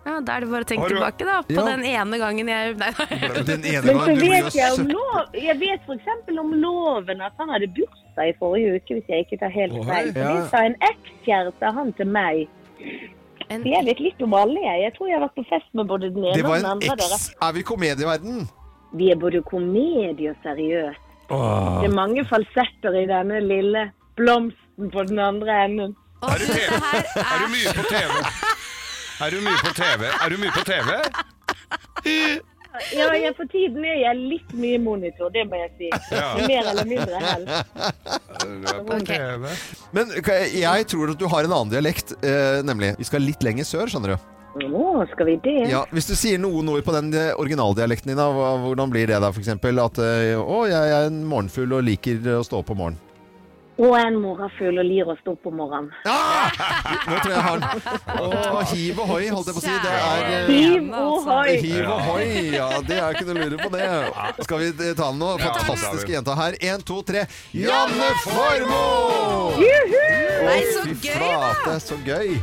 Speaker 3: Ja, Da er det bare å tenke
Speaker 2: Har du-
Speaker 3: tilbake da, på
Speaker 1: Ja.
Speaker 3: den ene gangen jeg Nei, nei.
Speaker 1: den ene
Speaker 6: Men så
Speaker 1: gangen du ble
Speaker 6: vet jeg om
Speaker 1: sø-
Speaker 6: lov, jeg vet for eksempel om loven at han hadde bursdag i forrige uke, hvis jeg ikke tar helt
Speaker 2: Oi,
Speaker 6: feil. Så
Speaker 1: ja.
Speaker 6: det sa en ekskjæreste av han til meg.
Speaker 3: En-
Speaker 6: Så jeg vet litt om alle, jeg. Jeg tror jeg har vært på fest med både den ene
Speaker 1: Det
Speaker 6: og
Speaker 1: var
Speaker 6: den
Speaker 1: en
Speaker 6: andre. Dere.
Speaker 1: X. Er vi i komedieverden?
Speaker 6: Vi er både komedie og seriøs. Det er mange falsetter i denne lille blomsten på den andre enden.
Speaker 3: Å, du, det her
Speaker 2: Er
Speaker 3: er
Speaker 2: du mye på TV? Er du mye på TV? Er du mye på TV?
Speaker 6: Ja, jeg, for tiden er jeg litt mye monitor, det må jeg si.
Speaker 2: Ja.
Speaker 6: Mer eller mindre hell.
Speaker 2: Du er på TV.
Speaker 1: Men ok, jeg tror at du har en annen dialekt, eh, nemlig. Vi skal litt lenger sør, skjønner du.
Speaker 6: Å, skal vi det?
Speaker 1: Ja, hvis du sier noen ord på den eh, originaldialekten din, da, hva- hvordan blir det da, for eksempel? At eh, å, jeg er en morgenfugl og liker å stå opp om morgenen.
Speaker 6: Og en morgenfugl og lir og stå opp om morgenen.
Speaker 1: Ah! Nå tror jeg jeg har den. Å, Hiv og hoi, holdt jeg på å si. Det er eh,
Speaker 6: Hiv
Speaker 3: altså.
Speaker 6: ohoi!
Speaker 1: Hiv og hoi, ja. Det er ikke noe å lure på, det. Skal vi eh, ta den nå?
Speaker 2: Ja,
Speaker 1: Fantastiske
Speaker 2: det
Speaker 1: jenta her. Én, to, tre. Janne Formoe!
Speaker 3: Nei,
Speaker 1: Å,
Speaker 3: så
Speaker 1: fy
Speaker 3: gøy,
Speaker 1: flate, så gøy.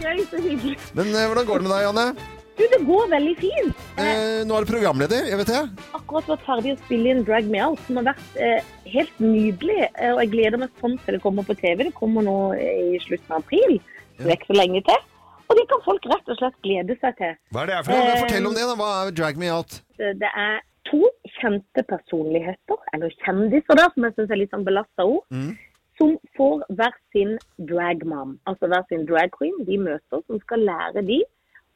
Speaker 6: Gøy, så hyggelig.
Speaker 1: Men eh, hvordan går det med deg, Janne?
Speaker 6: Du, det går veldig fint. Eh,
Speaker 1: Eh, nå er du programleder, jeg vet det.
Speaker 6: akkurat vært ferdig å spille inn Drag Me Out, som har vært eh, helt nydelig. Eh, og jeg gleder meg sånn til det kommer på TV. Det kommer nå eh, i slutten av april. Det er ikke så lenge til. Og det kan folk rett og slett glede seg til.
Speaker 2: Hva er det her for
Speaker 1: Hva-
Speaker 3: Eh.
Speaker 2: noe?
Speaker 1: Fortell om det, da. Hva er Drag Me Out?
Speaker 6: Eh, Det er to kjente personligheter, eller kjendiser da, som jeg syns er litt sånn belasta ord, som får hver sin dragmom, altså hver sin drag queen de møter, som skal lære de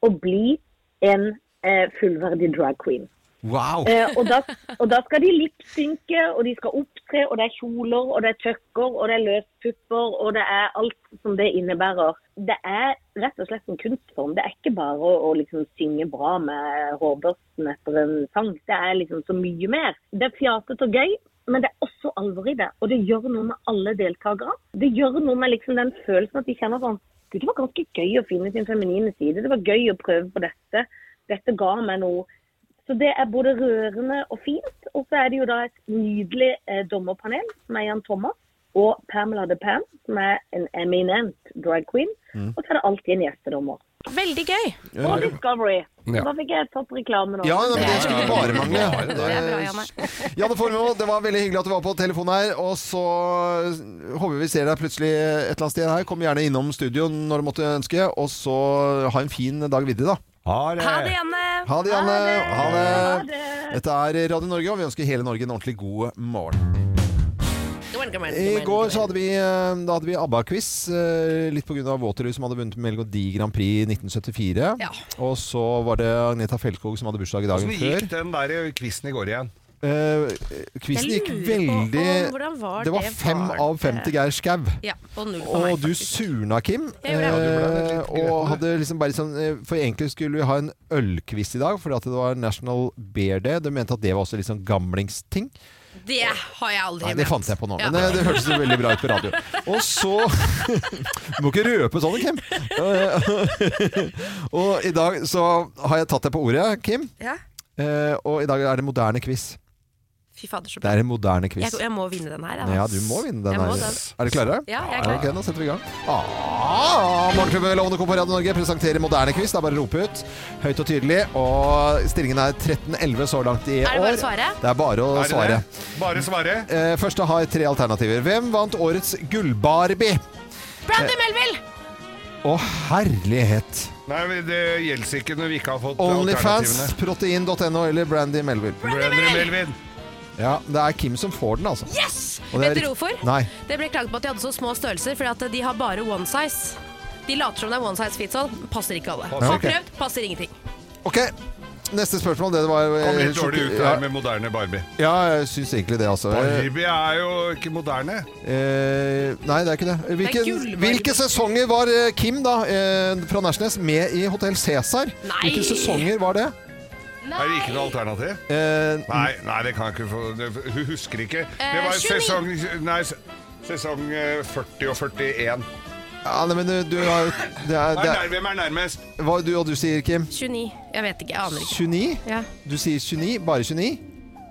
Speaker 6: å bli en eh, fullverdig drag queen.
Speaker 1: Wow!
Speaker 6: Eh, og, da, og da skal de lipsynke, og de skal opptre, og det er kjoler, og det er tøkker, og det er løspupper, og det er alt som det innebærer. Det er rett og slett en kunstform. Det er ikke bare å, å liksom synge bra med hårbørsten etter en sang. Det er liksom så mye mer. Det er fjatete og gøy, men det er også alvor i det. Og det gjør noe med alle deltakere. Det gjør noe med liksom den følelsen at de kjenner sånn Gud, det var ganske gøy å finne sin feminine side. Det var gøy å prøve på dette. Dette ga meg noe. Så det er både rørende og fint. Og så er det jo da et nydelig eh, dommerpanel med Jan Thomas og Pamela de Pam, som er en eminent drag queen. Og så er det alltid en gjestedommer.
Speaker 3: veldig gøy.
Speaker 6: Og Discovery.
Speaker 2: Ja.
Speaker 6: Da fikk jeg tatt reklame nå.
Speaker 1: Ja, nei, men det skulle bare mangle. Eh,
Speaker 3: Det er bra, Janne.
Speaker 1: Janne Formoe, det var veldig hyggelig at du var på telefonen her. Og så eh, håper vi ser deg plutselig eh, et eller annet sted her. Kom gjerne innom studio når du måtte ønske. Og så ha en fin dag videre, da.
Speaker 3: Ha det, Janne.
Speaker 1: Eh, Ha det, Janne. Ha det.
Speaker 6: Ha det.
Speaker 1: Dette er Radio Norge, og vi ønsker hele Norge en ordentlig god morgen. I går så hadde vi, eh, da hadde vi ABBA-quiz, eh, litt pga. Waterloo som hadde vunnet Melodi Grand Prix i 1974.
Speaker 3: Ja.
Speaker 1: Og så var det Agneta Feltskog som hadde bursdag i dagen
Speaker 2: Åssen gikk
Speaker 1: før.
Speaker 2: den der quizen i går igjen?
Speaker 1: Eh, quizen
Speaker 7: Jeg
Speaker 1: gikk
Speaker 7: lurer på
Speaker 1: veldig
Speaker 7: om- hvordan var
Speaker 1: Det var
Speaker 7: det
Speaker 1: fem
Speaker 7: var
Speaker 1: av fem
Speaker 7: det?
Speaker 1: til Geir Skau.
Speaker 7: Ja, og null for
Speaker 1: Og
Speaker 7: meg,
Speaker 1: du
Speaker 7: faktisk.
Speaker 1: surna, Kim.
Speaker 7: Jeg gjorde
Speaker 1: Eh,
Speaker 7: det.
Speaker 2: Ja, du ble litt gretten,
Speaker 1: og
Speaker 2: du.
Speaker 1: hadde liksom bare sånn eh, For egentlig skulle vi ha en ølquiz i dag, fordi at det var National Beer Day. Du mente at det var også litt sånn gamlingsting.
Speaker 7: Det har jeg aldri
Speaker 1: Nei, det
Speaker 7: ment.
Speaker 1: fant jeg på nå,
Speaker 7: Ja.
Speaker 1: men eh, det, det hørtes jo veldig bra ut på radio. Og så Du må ikke røpe sånn, Kim. Eh, og i dag så har jeg tatt deg på ordet, Kim.
Speaker 7: Ja.
Speaker 1: Eh, og i dag er det moderne quiz.
Speaker 7: Fy fader, så
Speaker 1: Det
Speaker 7: bra.
Speaker 1: er en moderne quiz.
Speaker 7: Jeg, jeg må vinne den her.
Speaker 1: Ja, du må vinne den
Speaker 7: Jeg må
Speaker 1: her.
Speaker 7: den.
Speaker 1: Er dere klare?
Speaker 7: Ja, jeg er
Speaker 1: Ja,
Speaker 7: klar.
Speaker 1: Ok, nå setter vi i gang. Ah, Morgenklubben med Lovende Co. på Radio Norge presenterer moderne quiz. Det er bare å rope ut høyt og tydelig. Og stillingen er 13-11 så langt i år.
Speaker 7: Er det bare å svare?
Speaker 1: Det er bare å
Speaker 2: Er det
Speaker 1: svare.
Speaker 2: det? Bare svare.
Speaker 1: Eh, Første har tre alternativer. Hvem vant årets Gull-Barbie?
Speaker 7: Brandy Melville!
Speaker 1: Å, herlighet!
Speaker 2: Nei, men det gjelder ikke når vi ikke har fått
Speaker 1: Onlyfans,
Speaker 2: alternativene.
Speaker 1: protein.no eller Brandy Melville.
Speaker 2: Brødre Melvin.
Speaker 1: Ja, det er Kim som får den, altså.
Speaker 7: Yes!
Speaker 1: Og det er
Speaker 7: Vet dere
Speaker 1: rikt-
Speaker 7: hvorfor?
Speaker 1: Nei.
Speaker 7: Det ble klaget på at de hadde så små størrelser, fordi at de har bare one size. De later som det er one size fits all. Passer ikke alle.
Speaker 1: Nei,
Speaker 7: Har
Speaker 1: ok.
Speaker 7: prøvd, passer ingenting.
Speaker 1: Ok, neste spørsmål. Det var eh,
Speaker 2: Kom litt dårlig ut
Speaker 1: ja, Eh.
Speaker 2: der med moderne Barbie.
Speaker 1: ja, jeg syns egentlig det, altså.
Speaker 2: Barbie er jo ikke moderne.
Speaker 1: Eh, nei, det er ikke det. Hvilken,
Speaker 7: gullvarme.
Speaker 1: hvilke sesonger var eh, Kim da, eh, fra Nærsnes med i Hotell Cæsar?
Speaker 7: Nei!
Speaker 1: Hvilke sesonger var det?
Speaker 2: Er det ikke noe alternativ?
Speaker 1: Eh,
Speaker 2: Nei, nei, det kan jeg ikke få det- Hun husker ikke. Det
Speaker 7: Eh,
Speaker 2: var
Speaker 7: 29.
Speaker 2: sesong Nei, se- sesong eh, 40 og 41.
Speaker 1: ja, nei, men du, du har jo det er,
Speaker 2: Nei,
Speaker 1: det
Speaker 2: nei,
Speaker 1: er,
Speaker 2: hvem er nærmest?
Speaker 1: Hva du og du sier, Kim?
Speaker 7: 29. Jeg vet ikke. Jeg aner ikke.
Speaker 1: 29?
Speaker 7: Ja.
Speaker 1: Du sier 29, bare 29.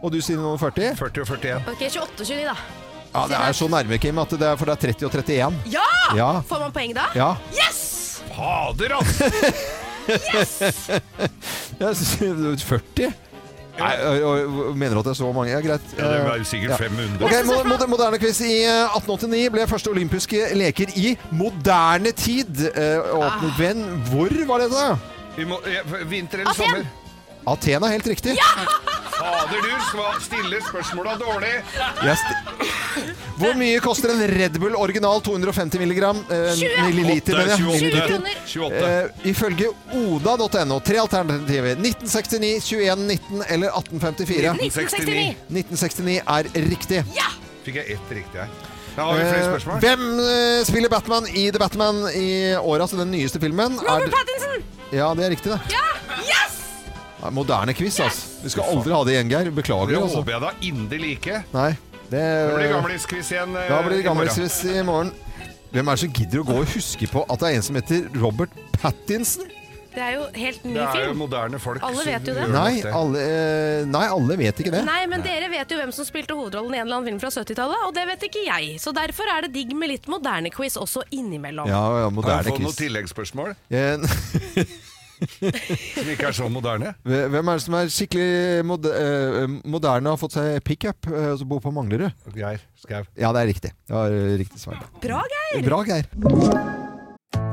Speaker 1: Og du sier noen 40?
Speaker 2: 40 og 41.
Speaker 7: Ok, 28-29, da.
Speaker 1: Ja, det er så nærme, Kim, at det er, for det er 30 og 31.
Speaker 7: Ja!
Speaker 1: Ja.
Speaker 7: Får man poeng da?
Speaker 1: Ja.
Speaker 7: Yes!
Speaker 2: Fader, altså!
Speaker 1: Jeg synes- 40? Nei, og, og, og, mener du at det er så mange? Ja, greit. Eh,
Speaker 2: Ja, det var jo
Speaker 1: Ja.
Speaker 2: sikkert
Speaker 1: Ok,
Speaker 2: 500.
Speaker 1: mo- moder- Moderne quiz. I eh, 1889 ble første olympiske leker i moderne tid eh,
Speaker 2: Ah.
Speaker 1: åpnet. Hvem, hvor var dette?
Speaker 2: Vi må, ja, vinter eller
Speaker 7: Aten!
Speaker 2: sommer?
Speaker 1: Athena, helt riktig.
Speaker 2: Fader, du sva- stiller spørsmåla dårlig.
Speaker 1: Jeg sti- Hvor mye koster en Red Bull original 250 milligram? Eh,
Speaker 7: 20.
Speaker 1: milliliter,
Speaker 2: Åtte,
Speaker 1: mener jeg.
Speaker 2: 28.
Speaker 1: Milliliter.
Speaker 2: 28.
Speaker 1: Eh, ifølge oda.no, tre alternativer. 1969, 2119 eller 1854.
Speaker 7: 1969.
Speaker 1: 1969 er riktig.
Speaker 7: Ja!
Speaker 2: Fikk jeg ett riktig her. Da har vi flere
Speaker 1: Eh,
Speaker 2: spørsmål.
Speaker 1: Hvem eh, spiller Batman i The Batman i året, altså den nyeste filmen? Er
Speaker 7: Robert
Speaker 1: det-
Speaker 7: Pattinson!
Speaker 1: Ja, det er riktig, det.
Speaker 7: Ja! Yes!
Speaker 1: Ja, Moderne quiz, altså. Vi skal aldri ha det igjen, Geir. Beklager,
Speaker 2: Det
Speaker 1: altså.
Speaker 2: håper jeg da inderlig ikke.
Speaker 1: Nei, det,
Speaker 2: Det blir gamlingskviss igjen. eh,
Speaker 1: Da blir det
Speaker 2: i morgen.
Speaker 1: gammelquiz i morgen. Hvem er det som gidder å gå og huske på at det er en som heter Robert Pattinson?
Speaker 7: Det er jo helt ny
Speaker 2: Det er jo
Speaker 7: film.
Speaker 2: moderne folk
Speaker 7: Alle
Speaker 2: som
Speaker 7: vet jo det.
Speaker 2: gjør
Speaker 1: Nei
Speaker 2: dette.
Speaker 1: alle, eh, nei, alle vet ikke det.
Speaker 7: Nei, men dere vet jo hvem som spilte hovedrollen i en eller annen film fra 70-tallet, og det vet ikke jeg. Så derfor er det digg med litt moderne quiz også innimellom.
Speaker 1: Ja, ja,
Speaker 2: Kan
Speaker 1: moderne
Speaker 2: jeg få noen
Speaker 1: quiz.
Speaker 2: tilleggsspørsmål
Speaker 1: Eh,
Speaker 2: som ikke er så moderne?
Speaker 1: Hvem er det som er skikkelig mod eh, moderne og har fått seg pickup eh, og så bor på Manglerud?
Speaker 2: Geir Skau.
Speaker 1: Ja, det er riktig. Det var eh, riktig svar.
Speaker 7: Bra, Geir!
Speaker 1: Bra, Geir.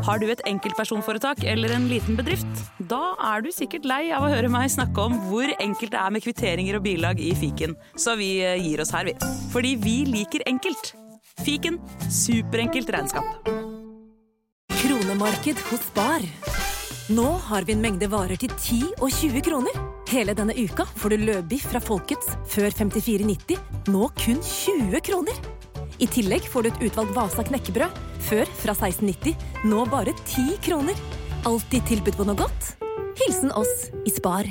Speaker 8: Har du et enkeltpersonforetak eller en liten bedrift? Da er du sikkert lei av å høre meg snakke om hvor enkelt det er med kvitteringer og bilag i fiken, så vi eh, gir oss her, vi. Fordi vi liker enkelt. Fiken superenkelt regnskap.
Speaker 9: Kronemarked hos Spar. Nå har vi en mengde varer til 10 og 20 kroner. Hele denne uka får du løbiff fra Folkets før 54,90, nå kun 20 kroner. I tillegg får du et utvalgt Vasa knekkebrød, før fra 16,90, nå bare 10 kroner. Alltid tilbud på noe godt. Hilsen oss i Spar.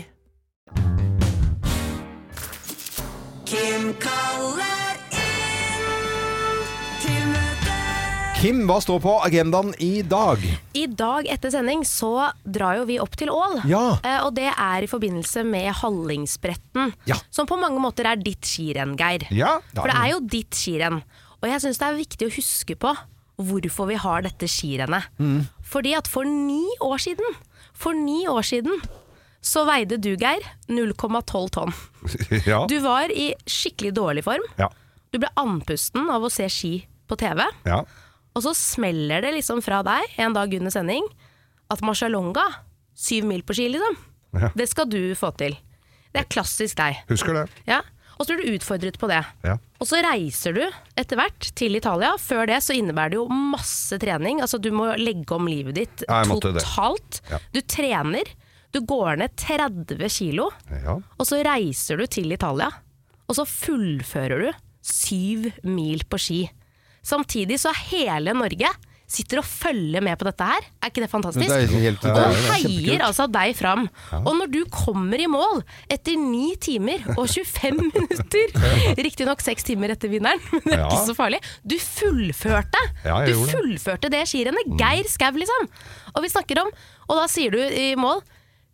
Speaker 1: Kim, hva står på agendaen i dag?
Speaker 7: I dag etter sending så drar jo vi opp til Ål.
Speaker 1: Ja.
Speaker 7: Eh, Og det er i forbindelse med Hallingsbretten,
Speaker 1: Ja.
Speaker 7: som på mange måter er ditt skirenn, Geir.
Speaker 2: Ja.
Speaker 7: For det er jo ditt skirenn. Og jeg syns det er viktig å huske på hvorfor vi har dette skirennet. Fordi at for ni år siden, for ni år siden så veide du, Geir, 0,12 tonn.
Speaker 2: ja.
Speaker 7: Du var i skikkelig dårlig form.
Speaker 2: ja.
Speaker 7: Du ble andpusten av å se ski på TV.
Speaker 2: ja.
Speaker 7: Og så smeller det liksom fra deg en dag under sending at Marcialonga, syv mil på ski, liksom,
Speaker 2: Ja.
Speaker 7: det skal du få til. Det er klassisk deg.
Speaker 2: Husker det.
Speaker 7: Ja. Og så blir du utfordret på det.
Speaker 2: Ja.
Speaker 7: Og så reiser du etter hvert til Italia. Før det så innebærer det jo masse trening. Altså du må legge om livet ditt
Speaker 2: Ja, jeg måtte det.
Speaker 7: totalt.
Speaker 2: Ja.
Speaker 7: Du trener. Du går ned 30 kilo.
Speaker 2: Ja.
Speaker 7: Og så reiser du til Italia. og så fullfører du syv mil på ski. Samtidig så hele Norge sitter og følger med på dette her. Er ikke det fantastisk?
Speaker 1: Det er helt
Speaker 7: og
Speaker 1: deilig. Det er
Speaker 7: heier
Speaker 1: kjempekult.
Speaker 7: altså deg fram. Og når du kommer i mål etter 9 timer og 25 minutter, riktignok 6 timer etter vinneren, men det er
Speaker 2: Ja.
Speaker 7: ikke så farlig, du fullførte!
Speaker 2: Ja, jeg
Speaker 7: du
Speaker 2: gjorde det. Mm.
Speaker 7: fullførte det skirennet. Geir Skau, liksom. Og vi snakker om Og da sier du i mål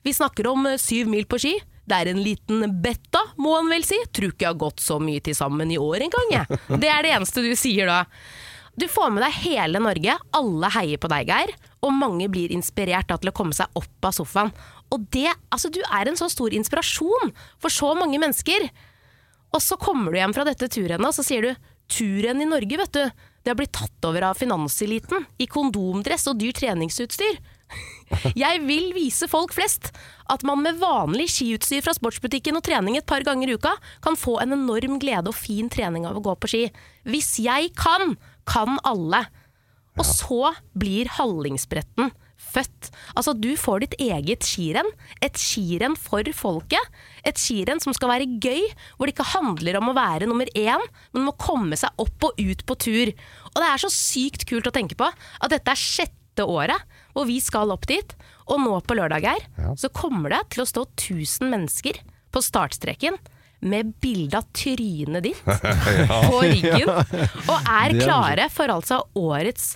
Speaker 7: Vi snakker om eh, syv mil på ski. Det er en liten betta, må han vel si. Tror ikke jeg har gått så mye til sammen i år engang, jeg. Det er det eneste du sier da. Du får med deg hele Norge, alle heier på deg, Geir. Og mange blir inspirert da, til å komme seg opp av sofaen. Og det, altså Du er en så stor inspirasjon for så mange mennesker. Og så kommer du hjem fra dette turrennet, og så sier du Turen i Norge, vet du, det har blitt tatt over av finanseliten i kondomdress og dyr treningsutstyr. Jeg vil vise folk flest at man med vanlig skiutstyr fra sportsbutikken og trening et par ganger i uka kan få en enorm glede og fin trening av å gå på ski. Hvis jeg kan, kan alle. Og så blir Hallingsbretten født. Altså, du får ditt eget skirenn. Et skirenn for folket. Et skirenn som skal være gøy, hvor det ikke handler om å være nummer én, men om å komme seg opp og ut på tur. Og det er så sykt kult å tenke på at dette er sjette året hvor vi skal opp dit. Og nå på lørdag her, så kommer det til å stå 1000 mennesker på startstreken med bilde av trynet ditt på ryggen, og er
Speaker 1: Det er
Speaker 7: klare for altså årets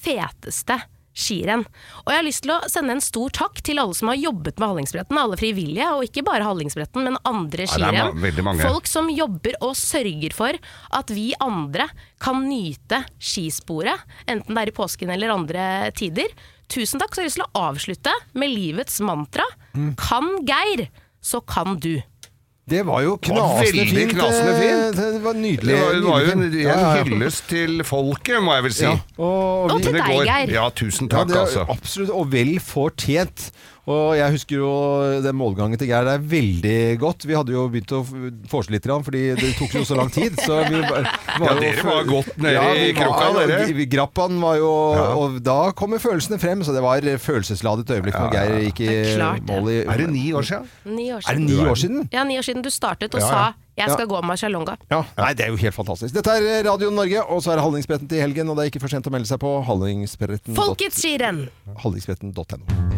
Speaker 7: feteste skirenn. Og jeg har lyst til å sende en stor takk til alle som har jobbet med Hallingsbretten, alle frivillige, og ikke bare Hallingsbretten, men andre
Speaker 2: Ja, det er ma-
Speaker 7: skirenn.
Speaker 2: veldig mange.
Speaker 7: Folk som jobber og sørger for at vi andre kan nyte skisporet, enten det er i påsken eller andre tider. Tusen takk, så har jeg lyst til å avslutte med livets mantra.
Speaker 2: Mm.
Speaker 7: Kan Geir, så kan du.
Speaker 1: Det var jo
Speaker 2: var
Speaker 1: knasende
Speaker 2: veldig
Speaker 1: fint.
Speaker 2: knasende
Speaker 1: eh,
Speaker 2: fint.
Speaker 1: Det var nydelig.
Speaker 2: Det var, det var jo en,
Speaker 1: nydelig film. Ja, ja.
Speaker 2: en hyllest til folket, må jeg vel si.
Speaker 1: Ja, og
Speaker 7: Og
Speaker 1: vi-
Speaker 7: til
Speaker 2: Det
Speaker 7: deg,
Speaker 2: går-
Speaker 7: Geir.
Speaker 2: Ja, tusen
Speaker 1: Ja,
Speaker 2: takk,
Speaker 1: det er
Speaker 2: altså.
Speaker 1: Absolutt, og vel fortjent. Og jeg husker jo den målgangen til Geir, det er veldig godt. Vi hadde jo begynt å forse litt, grann, fordi det tok jo så lang tid. Så vi var, var
Speaker 2: Ja,
Speaker 1: jo
Speaker 2: dere
Speaker 1: fø-
Speaker 2: var godt nede i
Speaker 1: vi var-
Speaker 2: krokka, dere.
Speaker 1: vi- Grappan var jo Og da kommer følelsene frem, så det var følelsesladet øyeblikk når Geir gikk i
Speaker 7: Det er klart, det.
Speaker 1: mål i
Speaker 2: Er det ni år siden?
Speaker 7: Ni år
Speaker 1: Er det
Speaker 7: siden.
Speaker 1: ni år siden?
Speaker 7: Ja, ni år siden du startet og
Speaker 2: Ja,
Speaker 7: sa
Speaker 2: ja.
Speaker 7: 'jeg skal
Speaker 1: Ja.
Speaker 7: gå Marcialonga'.
Speaker 1: Ja. Nei, det er jo helt fantastisk. Dette er eh, Radio Norge, og så er det Hallingsbretten til helgen. Og det er ikke for sent å melde seg på. Hallingsbretten.
Speaker 7: Folkets skirenn!
Speaker 1: hallingsbretten.no.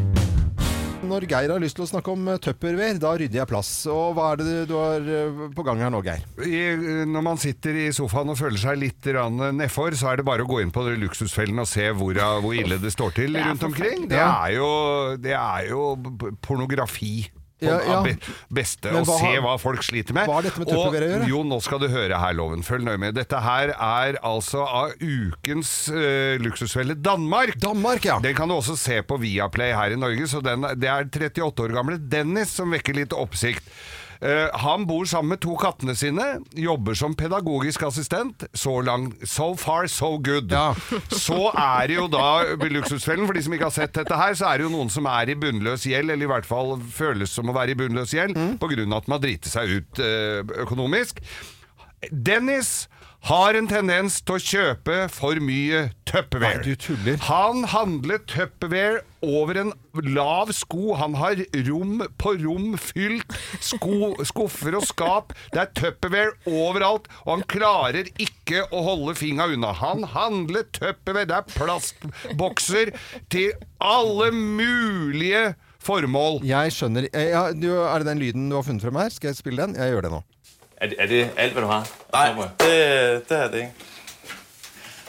Speaker 1: Når Geir har lyst til å snakke om eh, tupperware, da rydder jeg plass. Og hva er det du- du har eh, på gang her nå, Geir?
Speaker 2: I, når man sitter i sofaen og føler seg litt rann nedfor, så er det bare å gå inn på luksusfellen og se hvor, hvor ille det står til
Speaker 7: Det er
Speaker 2: rundt omkring. Det
Speaker 1: Ja.
Speaker 2: er jo, det er jo b- pornografi. På
Speaker 1: Ja, ja.
Speaker 2: av be- beste
Speaker 1: Men
Speaker 2: å
Speaker 1: hva
Speaker 2: se
Speaker 1: har-
Speaker 2: hva folk sliter med.
Speaker 1: hva har dette med
Speaker 2: Og
Speaker 1: tupperware å gjøre?
Speaker 2: Jo, nå skal du høre her, Loven. Følg nøye med. Dette her er altså av ukens eh, luksusfelle Danmark.
Speaker 1: Danmark, ja!
Speaker 2: Den kan du også se på Viaplay her i Norge. Så den, det er 38 år gamle Dennis som vekker litt oppsikt. Eh, han bor sammen med to kattene sine, jobber som pedagogisk assistent. Så lang, so far, so good.
Speaker 1: Ja.
Speaker 2: Så er det jo da luksusfellen. For de som ikke har sett dette her, så er det jo noen som er i bunnløs gjeld, eller i hvert fall føles som å være i bunnløs gjeld,
Speaker 1: Mm.
Speaker 2: på grunn av at man driter seg ut eh, økonomisk. Dennis har en tendens til å kjøpe for mye Tupperware.
Speaker 1: Nei, du tuller.
Speaker 2: Han handler Tupperware over en lav sko. Han har rom på rom fylt. Sko, skuffer og skap. Det er Tupperware overalt, og han klarer ikke å holde fingra unna. Han handler Tupperware. Det er plastbokser til alle mulige formål.
Speaker 1: Jeg skjønner eh, ja, du, Er det den lyden du har funnet frem her? Skal jeg spille den? Jeg gjør det nå.
Speaker 10: Er det, er det alt, hvad du har? Nej, det, det er det ikke.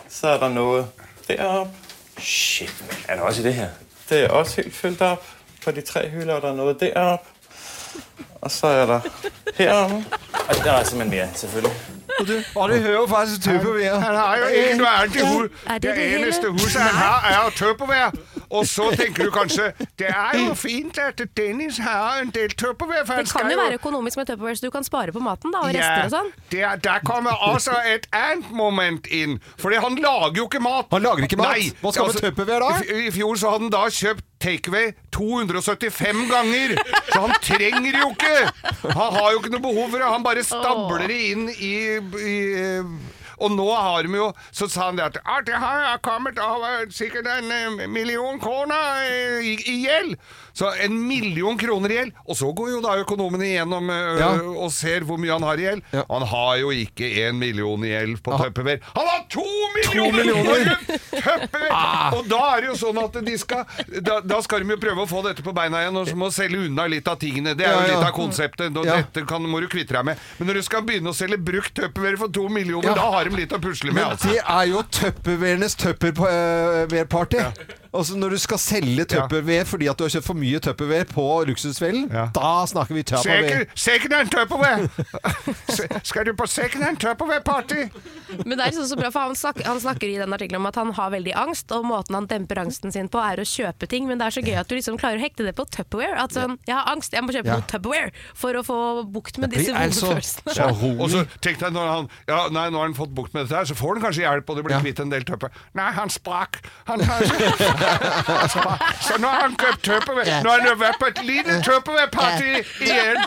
Speaker 10: Så er der noget deroppe. Shit, mand, er der også i det her? Det er også helt fyldt op på de tre hylder, og der er noget deroppe. Og så er der heromme. Og der er simpelthen mere, selvfølgelig.
Speaker 1: Og du hører jo faktisk
Speaker 2: Han har jo egentlig vært i hu-
Speaker 7: Er det
Speaker 2: Det
Speaker 7: det hele?
Speaker 2: eneste huset han har, er jo tupperware. Og så tenker du kanskje Det er jo fint at Dennis har en del tupperware. for han
Speaker 7: Det kan
Speaker 2: skal
Speaker 7: jo være økonomisk med Tupperware, så du kan spare på maten da, og
Speaker 2: Ja,
Speaker 7: rester og sånn.
Speaker 2: det er, der kommer også et annet moment inn. Fordi han lager jo ikke mat.
Speaker 1: Han lager ikke mat.
Speaker 2: Nei, altså,
Speaker 1: Hva skal han med Tupperware da?
Speaker 2: i f- I fjor så hadde han da kjøpt takeaway 275 ganger. Så han trenger det jo ikke. Han har jo ikke noe behov for det. Han bare stabler det inn i, i eh, Og nå har de jo Så sa han det at «Ja, det har kommet over sikkert en eh, million kroner eh, i, i gjeld. Så en million kroner i gjeld. Og så går jo da økonomene igjennom eh,
Speaker 1: Ja.
Speaker 2: og ser hvor mye han har i gjeld.
Speaker 1: Ja.
Speaker 2: Han har jo ikke en million i gjeld på
Speaker 1: Ah.
Speaker 2: Tupperware. Han har to millioner!
Speaker 1: millioner!
Speaker 2: på Tupperware! Og da er det jo sånn at de skal da, da skal de jo prøve å få dette på beina igjen, og så må selge unna litt av tingene. Det er
Speaker 1: Ja,
Speaker 2: jo
Speaker 1: ja.
Speaker 2: litt av konseptet. Nå,
Speaker 1: Ja.
Speaker 2: Dette kan, må du kvitte deg med. Men når du skal begynne å selge brukt Tupperware for to millioner,
Speaker 1: Ja.
Speaker 2: da har de litt å pusle med.
Speaker 1: Men
Speaker 2: Altså.
Speaker 1: det er jo tupperwarenes tupperware-party. Altså Når du skal selge tupperware fordi at du har kjøpt for mye tupperware på luksusfellen,
Speaker 2: Ja.
Speaker 1: da snakker vi tupperware.
Speaker 2: Second- Second hand Tupperware! Se- Skal du på second hand Tupperware-party?
Speaker 7: Men det er liksom så bra, for han, snak, han snakker i den artikkelen om at han har veldig angst, og måten han demper angsten sin på er å kjøpe ting, men det er så gøy at du liksom klarer å hekte det på Tupperware. At sånn, jeg har angst, jeg må kjøpe
Speaker 1: Ja.
Speaker 7: noe Tupperware for å få bukt med
Speaker 1: Det altså
Speaker 7: disse
Speaker 1: er
Speaker 7: vonde
Speaker 1: så,
Speaker 7: følelsene.
Speaker 1: så
Speaker 2: Og så
Speaker 1: rolig.
Speaker 2: tenkte jeg når han Ja, nei, nå har han fått bukt med dette her, så får han kanskje hjelp, og det blir
Speaker 1: Ja.
Speaker 2: kvitt en del tøppe. Nei, han sprakk! Han, han, han sprakk. Så nå har han kjøpt tøppevær. Nå har han jo vært på et lite tøppeværparty igjen!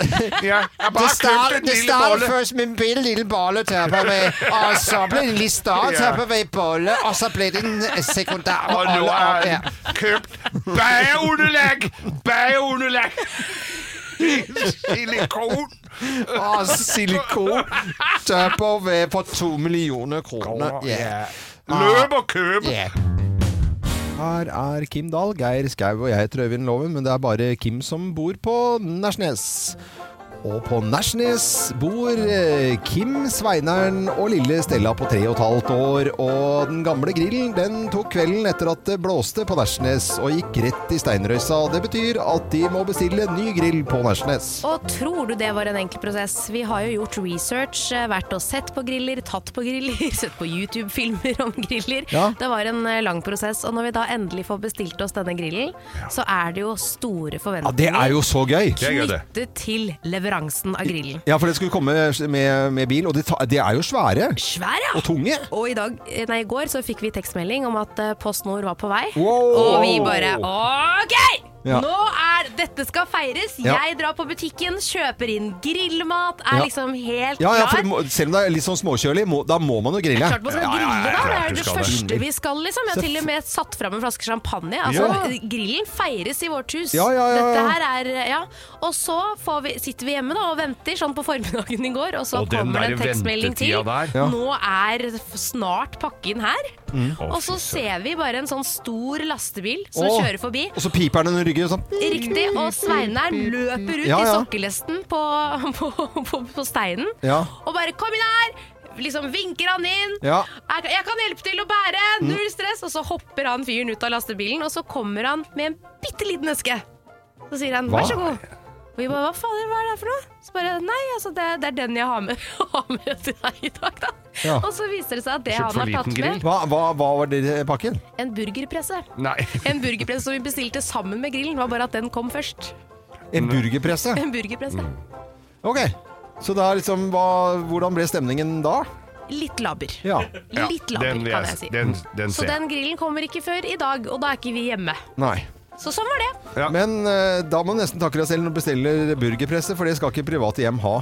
Speaker 2: Ja, jeg bare kjøpte en lille bolle.
Speaker 1: først med en bitte lille bolle tupperware, og så ble det en litt større
Speaker 2: Ja.
Speaker 1: tupperware-bolle, og så ble det en sekundær
Speaker 2: Og nå har han kjøpt badeunderlegg! Badeunderlegg! Silikon!
Speaker 1: Og silikon Altså, tupperware for to millioner kroner. Yeah.
Speaker 2: Løp og køp!
Speaker 1: Her er Kim Dahl, Geir Skau og jeg heter Øyvind Loven, men det er bare Kim som bor på Nærsnes. Og på Nærsnes bor eh, Kim, Sveineren og lille Stella på tre og et halvt år. Og den gamle grillen den tok kvelden etter at det blåste på Nærsnes og gikk rett i steinrøysa. Det betyr at de må bestille en ny grill på Nærsnes.
Speaker 7: Og tror du det var en enkel prosess? Vi har jo gjort research, eh, vært og sett på griller, tatt på griller, sett på YouTube-filmer om griller.
Speaker 1: Ja.
Speaker 7: Det var en eh, lang prosess, og når vi da endelig får bestilt oss denne grillen, så er det jo store
Speaker 1: Ja, det
Speaker 7: forventninger
Speaker 1: er jo så gøy!
Speaker 2: Det er gøy, det.
Speaker 7: knyttet til leveransen av grillen.
Speaker 1: Ja, for det skulle komme med, med bil, og de, ta, de er jo svære
Speaker 7: Svær, ja!
Speaker 1: og tunge.
Speaker 7: Og i, dag, eh, nei, i går så fikk vi tekstmelding om at eh, Post Nord var på vei.
Speaker 1: Wow!
Speaker 7: Og vi bare OK!
Speaker 1: Ja.
Speaker 7: Nå er Dette skal feires!
Speaker 1: Ja.
Speaker 7: Jeg drar på butikken, kjøper inn grillmat, er
Speaker 1: Ja.
Speaker 7: liksom helt
Speaker 1: Ja, ja, for
Speaker 7: klar.
Speaker 1: det må, selv om det er litt sånn småkjølig, må, da må man jo grille.
Speaker 7: Klart man skal
Speaker 2: Ja, ja, ja,
Speaker 7: grille, da! Det
Speaker 2: klart
Speaker 7: er
Speaker 2: du
Speaker 7: det
Speaker 2: skal det.
Speaker 7: første vi skal, liksom. Jeg har til og med satt fram en flaske champagne. Altså,
Speaker 1: Ja.
Speaker 7: grillen feires i vårt hus.
Speaker 1: Ja, ja, ja, ja.
Speaker 7: Dette her er Ja. Og så får vi, sitter vi hjemme da og venter sånn på formiddagen i går, og så
Speaker 2: Og den
Speaker 7: kommer det en
Speaker 2: der
Speaker 7: tekstmelding til.
Speaker 2: ventetida der.
Speaker 1: Ja.
Speaker 7: Nå er f- snart pakken her. Og
Speaker 2: Å, fy
Speaker 7: så
Speaker 2: søren.
Speaker 7: ser vi bare en sånn stor lastebil som
Speaker 1: Åh,
Speaker 7: kjører forbi.
Speaker 1: Og så piper den under ryggen sånn.
Speaker 7: Riktig, og Sveinern løper ut
Speaker 1: Ja,
Speaker 7: i
Speaker 1: ja.
Speaker 7: sokkelesten på, på, på, på steinen
Speaker 1: Ja.
Speaker 7: og bare 'kom inn her'! Liksom vinker han inn.
Speaker 1: Ja. Mm.
Speaker 7: Jeg, jeg kan hjelpe til å bære! Null stress! Og så hopper han fyren ut av lastebilen, og så kommer han med en bitte liten eske. Så sier han 'vær så god'. Og vi bare 'hva fader, hva er det her for noe?' Så bare 'nei, altså, det, det er den jeg har med, har med til deg i dag', da.
Speaker 1: Ja.
Speaker 7: Og så viser det seg at det
Speaker 2: Kjøpt
Speaker 7: han
Speaker 2: for
Speaker 7: har
Speaker 2: liten
Speaker 7: tatt med,
Speaker 1: Hva, hva, hva var det i pakken?
Speaker 7: en burgerpresse.
Speaker 2: Nei.
Speaker 7: En burgerpresse som vi bestilte sammen med grillen, var bare at den kom først.
Speaker 2: Mm.
Speaker 1: En burgerpresse?
Speaker 7: En burgerpresse.
Speaker 1: Ok. Så da liksom, hva, hvordan ble stemningen da?
Speaker 7: Litt laber.
Speaker 1: Ja.
Speaker 2: Ja,
Speaker 7: Litt laber,
Speaker 2: den vil
Speaker 7: kan
Speaker 2: jeg
Speaker 7: jeg
Speaker 2: se.
Speaker 7: si.
Speaker 2: Den, den
Speaker 7: Så
Speaker 2: ser jeg.
Speaker 7: den grillen kommer ikke før i dag, og da er ikke vi hjemme.
Speaker 1: Nei.
Speaker 7: Så sånn var det.
Speaker 2: Ja.
Speaker 1: Men eh, da må du nesten takke deg selv når du bestiller burgerpresse, for det skal ikke private hjem ha.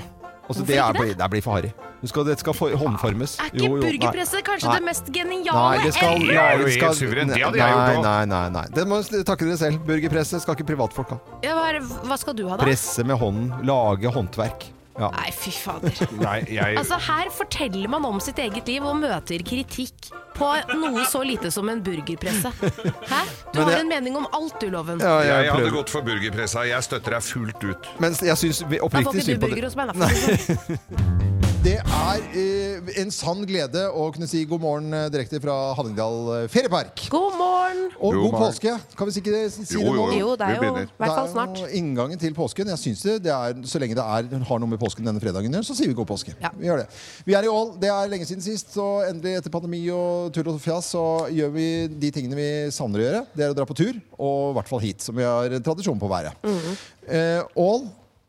Speaker 1: Altså, det,
Speaker 7: ikke
Speaker 1: er, blir- det blir for harry. Du skal- Dette skal for, håndformes.
Speaker 7: Er ikke
Speaker 1: Jo, jo, nei.
Speaker 7: burgerpresse kanskje
Speaker 1: Nei.
Speaker 7: det mest geniale?
Speaker 1: Nei, det skal,
Speaker 7: eller?
Speaker 2: Det er jo
Speaker 1: nei, det
Speaker 2: helt
Speaker 1: skal,
Speaker 2: suverent. Det hadde jeg
Speaker 1: nei,
Speaker 2: gjort også.
Speaker 1: nei, nei, nei. Det må du takke dere selv. Burgerpresse skal ikke privatfolk ha.
Speaker 7: Ja, hva, er- hva skal du ha, da?
Speaker 1: Presse med hånden, lage håndverk. Ja.
Speaker 7: Nei, fy fader.
Speaker 2: Nei, jeg
Speaker 7: Altså, her forteller man om sitt eget liv og møter kritikk på noe så lite som en burgerpresse. Hæ? Du
Speaker 1: Men
Speaker 7: har
Speaker 1: jeg-
Speaker 7: en mening om alt, du, Loven.
Speaker 1: Ja, jeg
Speaker 2: Jeg hadde
Speaker 1: prøver.
Speaker 2: gått for burgerpressa. Jeg støtter deg fullt ut.
Speaker 1: Men jeg syns vi-
Speaker 7: Da får
Speaker 1: oppriktig
Speaker 7: ikke
Speaker 1: synd
Speaker 7: du
Speaker 1: på
Speaker 7: burger
Speaker 1: det.
Speaker 7: hos meg, da. for å si det sånn.
Speaker 1: Det er eh, en sann glede å kunne si god morgen eh, direkte fra Hallingdal eh, feriepark.
Speaker 7: God morgen!
Speaker 1: Og
Speaker 2: Jo,
Speaker 1: god
Speaker 2: morgen.
Speaker 1: påske. Kan vi ikke si det
Speaker 2: Jo,
Speaker 1: nå?
Speaker 2: jo,
Speaker 7: Jo, det
Speaker 2: vi
Speaker 7: er jo i
Speaker 2: begynner.
Speaker 7: hvert fall
Speaker 1: Det
Speaker 7: snart.
Speaker 1: er jo inngangen til påsken. Jeg synes det, det er, Så lenge det er, har noe med påsken denne fredagen å gjøre, så sier vi god påske.
Speaker 7: Ja.
Speaker 1: Vi gjør det. Vi er i Ål. Det er lenge siden sist, og endelig etter pandemi og tull og fjas så gjør vi de tingene vi savner å gjøre. Det er å dra på tur, og i hvert fall hit, som vi har tradisjon på å være.
Speaker 7: Mm.
Speaker 1: Eh, Ål,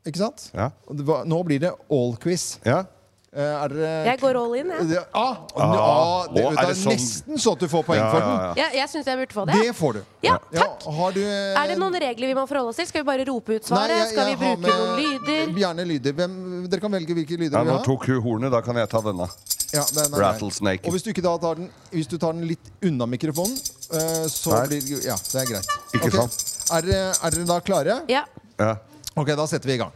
Speaker 1: ikke sant?
Speaker 2: Ja.
Speaker 1: Og det var- Nå blir det Ål-quiz.
Speaker 2: Ja.
Speaker 1: Eh, er dere
Speaker 7: Jeg går all in, jeg.
Speaker 1: det, ah, ah, det,
Speaker 2: Å, er
Speaker 1: vet du,
Speaker 2: det
Speaker 1: det er
Speaker 2: sånn-
Speaker 1: nesten så at du får poeng for den.
Speaker 7: Ja, jeg syns jeg burde få det.
Speaker 1: Det får du.
Speaker 7: Ja,
Speaker 1: har du,
Speaker 7: Er det noen regler vi må forholde oss til? Skal vi bare rope ut svaret?
Speaker 1: jeg-
Speaker 7: Skal vi
Speaker 1: jeg har
Speaker 7: bruke noen lyder?
Speaker 1: Gjerne lyder. Hvem, dere kan velge hvilke lyder
Speaker 2: Ja,
Speaker 1: dere
Speaker 2: nå
Speaker 1: vil ha.
Speaker 2: tok hun hornet, da kan jeg ta denne.
Speaker 1: Ja, den er grei.
Speaker 2: Rattlesnake.
Speaker 1: Og hvis du ikke da tar den Hvis du tar den litt unna mikrofonen, eh, så
Speaker 2: Der.
Speaker 1: blir det Ja, det er greit.
Speaker 2: Ikke
Speaker 1: Ok,
Speaker 2: sant?
Speaker 1: Er dere, er dere da klare?
Speaker 7: Ja.
Speaker 2: Ja.
Speaker 1: Ok, da setter vi i gang.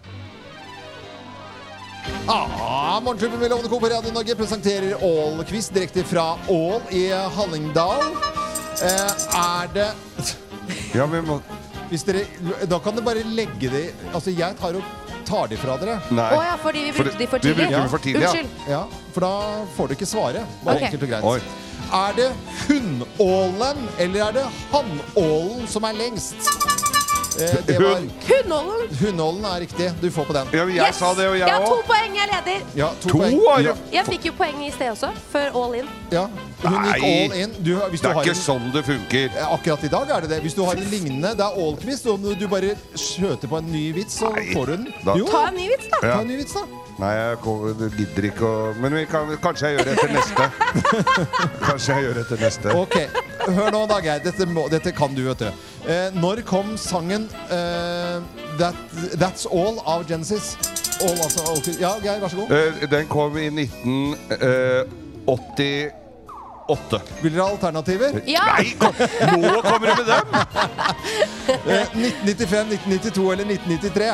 Speaker 1: Ah, Morgenklubben med Lovende Co på Radio Norge presenterer Ål-quiz direkte fra Ål i Hallingdal. Eh, er det
Speaker 2: ja, vi må
Speaker 1: Hvis dere Da kan dere bare legge det i- Altså, jeg tar, og tar det fra dere.
Speaker 2: Nei.
Speaker 7: Å ja, fordi vi brukte de for tidlig.
Speaker 2: Vi brukte
Speaker 1: Ja.
Speaker 2: dem for tidlig, ja.
Speaker 7: Unnskyld.
Speaker 1: Ja, for da får du ikke svare. Bare
Speaker 7: Ok.
Speaker 1: enkelt og greit.
Speaker 2: Oi.
Speaker 1: Er det hunnålen eller er det hannålen som er lengst? Eh, det var
Speaker 2: Hun.
Speaker 7: Hundeholden!
Speaker 1: Hunnålen er riktig. Du får på den.
Speaker 2: Ja, men jeg sa det, og jeg
Speaker 7: har to
Speaker 2: òg.
Speaker 7: poeng, jeg leder.
Speaker 1: Ja, to,
Speaker 2: To
Speaker 1: poeng.
Speaker 2: har
Speaker 1: Ja.
Speaker 2: du-
Speaker 7: Jeg fikk jo poeng i sted også, før all in.
Speaker 1: Ja, hun gikk
Speaker 2: Nei.
Speaker 1: all in. Du, hvis
Speaker 2: Det
Speaker 1: du
Speaker 2: er
Speaker 1: har
Speaker 2: ikke
Speaker 1: en,
Speaker 2: sånn det funker.
Speaker 1: Eh, akkurat i dag er det det. Hvis du har en lignende, det er all-quiz, så om du bare skjøter på en ny vits, så
Speaker 2: Nei.
Speaker 1: får du den.
Speaker 2: Da-
Speaker 1: Jo,
Speaker 7: Ta en ny vits, da.
Speaker 1: ta
Speaker 2: Ja.
Speaker 1: en ny vits, da.
Speaker 2: Nei, jeg ko- gidder ikke å Men vi kan, kanskje jeg gjør det etter neste. Kanskje jeg gjør det etter neste.
Speaker 1: Ok, hør nå, da, Geir. Dette, må, dette kan du, vet du. Eh, når kom sangen eh, That, That's All av Genesis? All, altså, all, ja, Geir, vær så god.
Speaker 2: Eh, Den kom i eh, 1988.
Speaker 1: Vil dere ha alternativer?
Speaker 7: Ja!
Speaker 2: Nei, kom, nå kommer du med dem!
Speaker 1: Eh, 1995, 1992 eller 1993?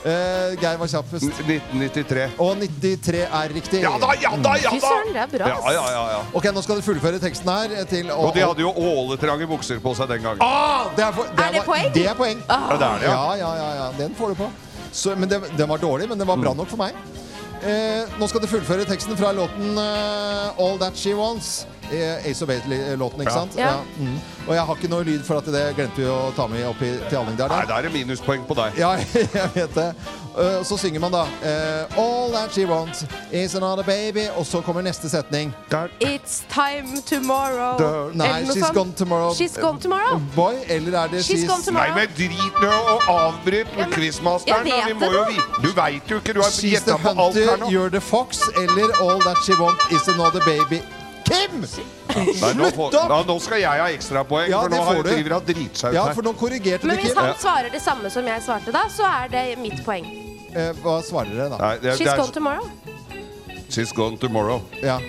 Speaker 1: Eh, Geir var kjappest.
Speaker 2: 1993.
Speaker 1: Og 93 er riktig.
Speaker 2: Ja da, ja da, ja
Speaker 7: Fy
Speaker 2: da!
Speaker 7: søren, det er bra.
Speaker 2: Ja,
Speaker 7: ass.
Speaker 2: ja, ja, ja.
Speaker 1: Ok, Nå skal du fullføre teksten her. eh, Til,
Speaker 2: Og de hadde jo åletrange bukser på seg den gangen.
Speaker 1: Ah, det er, for, det
Speaker 7: Er det
Speaker 1: var-
Speaker 7: poeng? Ah.
Speaker 1: Det er poeng.
Speaker 2: Ja, det er det, ja.
Speaker 1: Ja, ja, ja, ja. Den får du på. Så, men det, den var dårlig, men den var
Speaker 2: Mm.
Speaker 1: bra nok for meg. Eh, nå skal du fullføre teksten fra låten eh, All That She Wants. Eh, Ace of Bale-låten, ikke
Speaker 2: Ja.
Speaker 1: sant?
Speaker 7: Ja.
Speaker 1: Mm. Og jeg har ikke noe lyd for at det glemte vi å ta med opp i, til Hallingdal.
Speaker 2: Nei,
Speaker 1: der.
Speaker 2: da er det minuspoeng på deg.
Speaker 1: Ja, jeg vet det. Eh, og så synger man da eh, All that she wants is another baby. Og så kommer neste setning.
Speaker 7: It's time tomorrow.
Speaker 2: Da-
Speaker 1: Nei,
Speaker 7: Eller noe
Speaker 1: she's
Speaker 7: sånt.
Speaker 1: gone tomorrow.
Speaker 7: She's gone tomorrow.
Speaker 1: Boy, eller er det
Speaker 7: She's gone
Speaker 2: Nei,
Speaker 7: tomorrow.
Speaker 2: men drit nå og avbryt
Speaker 7: Ja, men-
Speaker 2: quizmasteren, da.
Speaker 7: Jeg
Speaker 2: Vi
Speaker 7: vet
Speaker 2: må
Speaker 7: det
Speaker 2: jo
Speaker 7: da.
Speaker 2: vite Du veit jo ikke, du har
Speaker 1: She's the
Speaker 2: gjetta på alt her
Speaker 1: hunter,
Speaker 2: nå.
Speaker 1: you're the fox, eller all that she wants is another baby. Kim!
Speaker 2: Nei, nå, får,
Speaker 1: Slutt opp!
Speaker 2: ja, nå skal jeg ha ekstrapoeng,
Speaker 1: Ja,
Speaker 2: for
Speaker 1: det
Speaker 2: nå har
Speaker 1: får du.
Speaker 2: driver han driti seg ut
Speaker 1: Ja,
Speaker 2: her.
Speaker 1: for nå korrigerte du
Speaker 7: Men hvis
Speaker 1: Kim.
Speaker 7: han svarer det samme som jeg svarte da, så er det mitt poeng.
Speaker 1: Eh, hva svarer dere da?
Speaker 2: Nei, det, er-
Speaker 7: She's
Speaker 2: det
Speaker 7: gone
Speaker 2: er,
Speaker 7: tomorrow.
Speaker 2: she's gone tomorrow.
Speaker 1: Ja. Mm,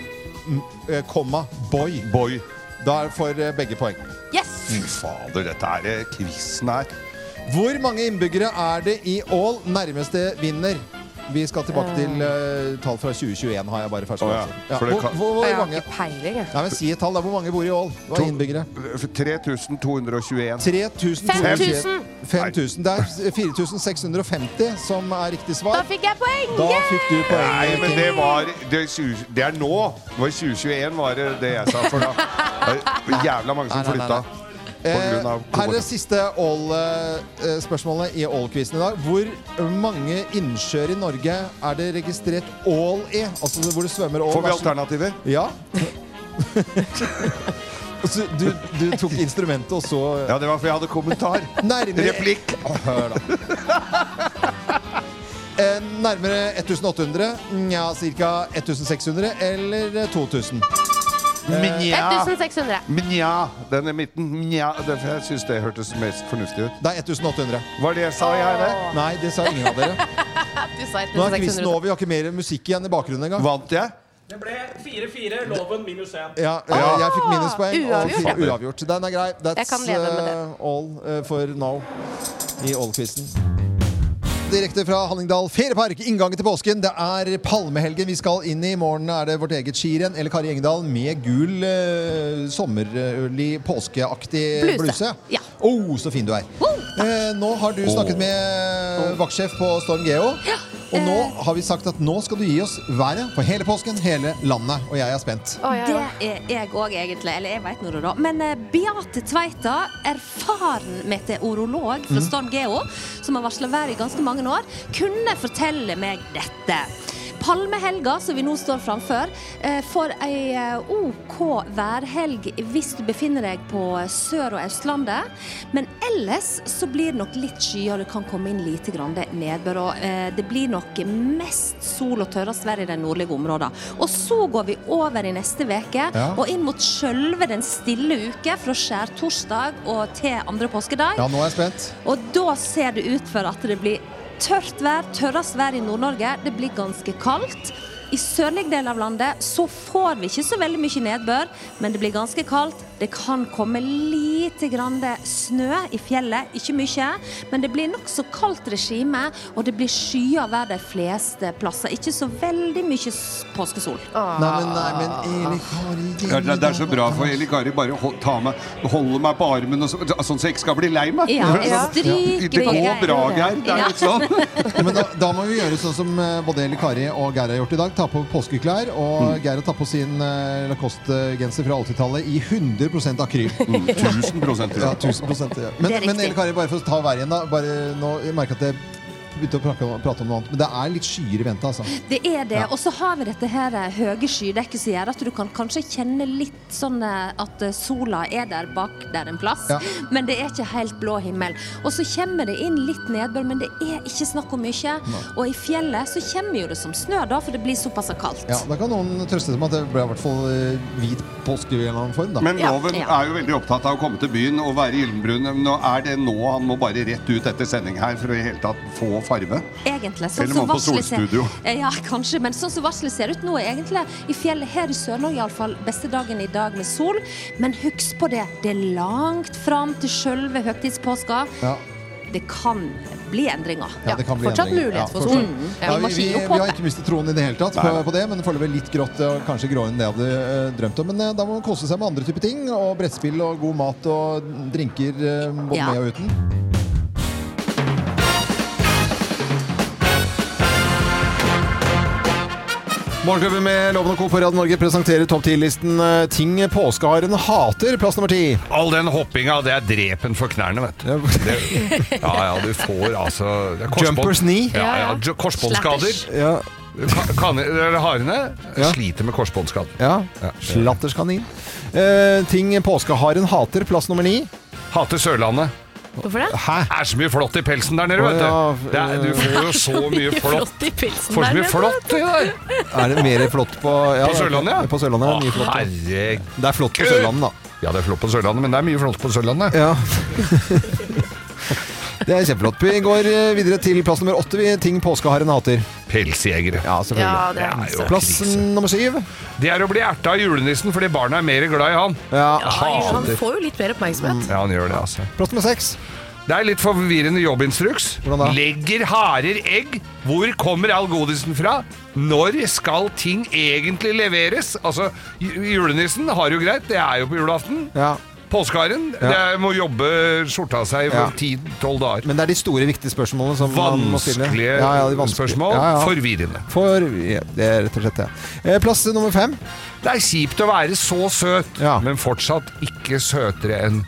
Speaker 1: eh, komma boy.
Speaker 2: Boy.
Speaker 1: Da er- får eh, begge poeng.
Speaker 7: Yes!
Speaker 2: Fy fader, dette er eh, quizen her.
Speaker 1: Hvor mange innbyggere er det i Ål? Nærmeste vinner. Vi skal tilbake til eh, tall fra 2021, har jeg bare fersk.
Speaker 2: Å, ja.
Speaker 1: altså. Ja,
Speaker 2: For det
Speaker 1: Hvor,
Speaker 2: kan-
Speaker 1: hvor,
Speaker 7: Jeg
Speaker 1: hvor
Speaker 7: har
Speaker 1: mange?
Speaker 7: ikke peiling, jeg.
Speaker 1: Nei, men Si et tall, da. Hvor mange bor i Ål? Hva
Speaker 2: To-
Speaker 1: er innbyggere?
Speaker 2: 3221.
Speaker 1: 3200.
Speaker 7: 5000.
Speaker 1: 5000. Det er 4650 som er riktig
Speaker 7: Da
Speaker 1: svar.
Speaker 7: fikk jeg poeng!
Speaker 1: Da
Speaker 7: Yay!
Speaker 1: fikk du poeng.
Speaker 2: Nei, men det var det, er 20 det er nå! Det var i 2021 var det det jeg sa, for da det er jævla mange som
Speaker 1: Nei, nei, nei,
Speaker 2: flytta.
Speaker 1: nei.
Speaker 2: På
Speaker 1: Eh,
Speaker 2: grunn av
Speaker 1: Her er det siste ål-spørsmålet i ål-quizen i dag. Hvor mange innsjøer i Norge er det registrert ål i? Altså hvor det svømmer ål?
Speaker 2: Får vi
Speaker 1: Vær så-
Speaker 2: alternativer?
Speaker 1: Ja. Så du, du tok instrumentet, og så
Speaker 2: Ja, det var for jeg hadde kommentar.
Speaker 1: Nærmere
Speaker 2: Replikk.
Speaker 1: Hør, da. Eh, Nærmere 1800, nja ca. 1600 eller eh, 2000.
Speaker 2: Nja.
Speaker 7: 1600.
Speaker 2: Nja. Den i midten. Nja. Det- Jeg syns det hørtes mest fornuftig ut.
Speaker 1: Det er 1800.
Speaker 2: Var det jeg sa, jeg, det?
Speaker 1: Nei, det sa ingen av dere.
Speaker 7: Du sa
Speaker 1: Nå er quizen
Speaker 7: 1600.
Speaker 1: over, vi har ikke mer musikk igjen i bakgrunnen engang.
Speaker 2: Vant jeg?
Speaker 8: Det ble 4-4, loven minus 1.
Speaker 1: Ja, ja, jeg fikk minuspoeng. og
Speaker 7: Ah, Uavgjort,
Speaker 1: fikk uavgjort. Den er grei. That's
Speaker 7: Jeg kan leve med det.
Speaker 1: uh, all uh, for now i Ålquizen. Direkte fra Hallingdal feriepark, inngangen til påsken. Det er palmehelgen vi skal inn i. I morgen er det vårt eget skirenn eller Kari Engedal med gul, eh, sommerlig, påskeaktig bluse.
Speaker 7: Bluse. Ja.
Speaker 1: Oh, så fin du er. Eh, nå har du snakket
Speaker 7: Oh.
Speaker 1: med eh, vaktsjef på Storm Geo. Og nå
Speaker 7: eh.
Speaker 1: har vi sagt at nå skal du gi oss været for hele påsken, hele landet. Og jeg er spent.
Speaker 7: Å, ja, ja.
Speaker 9: Det er jeg òg, egentlig. Eller jeg veit nå det, da. Men eh, Beate Tveita, erfaren meteorolog fra Storm Geo, som har varsla været i ganske mange år, kunne fortelle meg dette. Palmehelga, som vi nå står framfor, eh, får ei eh, OK værhelg hvis du befinner deg på Sør- og Østlandet. Men ellers så blir det nok litt skyer, og det kan komme inn lite grann nedbør. Og eh, det blir nok mest sol og tørrest vær i de nordlige områdene. Og så går vi over i neste uke
Speaker 1: Ja.
Speaker 9: og inn mot sjølve den stille uke, fra skjærtorsdag og til andre påskedag.
Speaker 1: Ja, nå er jeg spent.
Speaker 9: Og da ser det ut for at det blir tørt vær, tørrest vær i Nord-Norge. Det blir ganske kaldt. I sørlig del av landet så får vi ikke så veldig mye nedbør, men det blir ganske kaldt. Det kan komme lite grann snø i fjellet, ikke mye. Men det blir nokså kaldt regime, og det blir skyer hver de fleste plasser. Ikke så veldig mye s- påskesol.
Speaker 1: Nei, men, nei, men
Speaker 9: Ah.
Speaker 1: Eli Kari
Speaker 2: Ja, det, det er så bra for Eli Kari. Bare hold, ta meg, holde meg på armen, og så, sånn så jeg ikke skal bli lei meg.
Speaker 9: Ja, jeg
Speaker 2: Sånn,
Speaker 9: stryker
Speaker 2: Det går
Speaker 9: deg.
Speaker 2: bra, Geir. Det er
Speaker 9: Ja.
Speaker 2: litt sånn.
Speaker 1: Men da, da må vi gjøre sånn som eh, både Eli Kari og Geir har gjort i dag. Ta på påskeklær. Og
Speaker 2: Mm.
Speaker 1: Geir har tatt på sin eh, Lacoste-genser fra 80-tallet i 100 akryl.
Speaker 2: Mm, 1000 prosent, tror jeg.
Speaker 1: Ja, 1000 ja. Men,
Speaker 9: Det er riktig.
Speaker 1: men Eli Kari, bare for å ta hver igjen, da. Bare, nå, jeg merker at jeg begynte å prate om, prate om noe annet. Men det er litt skyer i vente, altså.
Speaker 9: Det er det.
Speaker 1: Ja.
Speaker 9: Og så har vi dette her eh, høye skydekket som gjør at du kan kanskje kjenne litt sånn eh, at eh, sola er der bak der en plass,
Speaker 1: Ja.
Speaker 9: men det er ikke helt blå himmel. Og så kommer det inn litt nedbør, men det er ikke snakk om mye.
Speaker 1: Nei.
Speaker 9: Og i fjellet så kommer jo det som snø, da, for det blir såpass kaldt.
Speaker 1: Ja, Da kan noen trøste seg med at det ble i hvert fall eh, hvit påske i en eller annen form, da.
Speaker 2: Men
Speaker 9: Ja,
Speaker 2: Loven
Speaker 9: ja.
Speaker 2: er jo veldig opptatt av å komme til byen og være gyllenbrun. Nå er det nå han må bare rett ut etter sending her for å i hele tatt få farve?
Speaker 9: Egentlig. Sånn
Speaker 2: Eller
Speaker 9: som
Speaker 2: mann på
Speaker 9: varselet ser-
Speaker 2: solstudio.
Speaker 9: Eh, Ja, kanskje, men sånn som varselet ser ut nå, er egentlig i fjellet her i Sør-Norge iallfall beste dagen i dag med sol. Men husk på det, det er langt fram til sjølve høgtidspåska.
Speaker 1: Ja.
Speaker 9: Det kan bli endringer.
Speaker 1: Ja, det kan bli
Speaker 7: fortsatt
Speaker 1: endringer.
Speaker 7: mulighet for
Speaker 1: fortsatt. sånn.
Speaker 7: sol. Mm. Ja,
Speaker 1: vi,
Speaker 7: vi må
Speaker 1: vi,
Speaker 7: skie opp
Speaker 1: vi
Speaker 7: på
Speaker 1: har
Speaker 7: det.
Speaker 1: ikke mistet troen i det hele tatt på,
Speaker 2: Nei.
Speaker 1: på det, men foreløpig litt grått og kanskje gråere enn det jeg hadde eh, drømt om. Men eh, da må man kose seg med andre typer ting, og brettspill og god mat og drinker eh, både
Speaker 9: Ja.
Speaker 1: med og uten. Morgenklubben med Loven og Co. på Radio Norge presenterer topp 10-listen eh, Ting påskeharen hater, plass nummer ti.
Speaker 2: All den hoppinga, det er drepen for knærne, vet du. Det, ja ja, du får altså det er korsbånd-
Speaker 1: Jumpers knee.
Speaker 2: Ja, ja, ju- Korsbåndskader.
Speaker 1: Ja,
Speaker 2: Ka- kan- eller Harene
Speaker 1: Ja.
Speaker 2: sliter med korsbåndskader.
Speaker 1: ja.
Speaker 2: Ja.
Speaker 1: Slatterskanin. Eh, ting påskeharen hater, plass nummer ni.
Speaker 2: Hater Sørlandet.
Speaker 7: Hvorfor det?
Speaker 1: Hæ?
Speaker 2: Det er så mye flott i pelsen der nede, vet
Speaker 1: Å,
Speaker 2: du. Det
Speaker 1: ja,
Speaker 2: er, du får jo så mye flott.
Speaker 7: i pilsen
Speaker 2: Får så
Speaker 7: der
Speaker 2: mye flott i der.
Speaker 1: Er det mer flott på, ja,
Speaker 2: På Sørlandet, ja.
Speaker 1: På Sørlandet er det mye
Speaker 2: Å,
Speaker 1: flott.
Speaker 2: herregud.
Speaker 1: Det er flott på Sørlandet, da.
Speaker 2: Ja, det er flott på Sørlandet, men det er mye flott på Sørlandet.
Speaker 1: Ja. Det er kjempeflott. Vi går eh, videre til plass nummer åtte. Vi ting påskeharen hater.
Speaker 2: Pelsjegere.
Speaker 1: Ja,
Speaker 7: Ja,
Speaker 1: selvfølgelig.
Speaker 7: det er
Speaker 2: Det er jo
Speaker 1: Plass
Speaker 2: krise.
Speaker 1: nummer syv.
Speaker 2: Det er å bli erta av julenissen fordi barna er mer glad i han.
Speaker 1: Ja.
Speaker 7: Ai, Han får jo litt mer oppmerksomhet.
Speaker 2: Ja, han gjør det, altså.
Speaker 1: Plass nummer seks.
Speaker 2: Det er litt forvirrende jobbinstruks.
Speaker 1: Hvordan da?
Speaker 2: Legger harer egg? Hvor kommer all godisen fra? Når skal ting egentlig leveres? Altså, ju- julenissen har jo greit, det er jo på julaften.
Speaker 1: Ja.
Speaker 2: Påskeharen det er- må jobbe skjorta av seg i
Speaker 1: Ja.
Speaker 2: ti-tolv dager.
Speaker 1: Men det er de store, viktige spørsmålene som man må stille.
Speaker 2: Vanskelige
Speaker 1: Ja, ja, de vanskelige.
Speaker 2: spørsmål.
Speaker 1: Ja, ja.
Speaker 2: Forvirrende.
Speaker 1: For ja, Det er rett og slett det. Eh, Plass nummer fem.
Speaker 2: Det er kjipt å være så søt,
Speaker 1: Ja.
Speaker 2: men fortsatt ikke søtere enn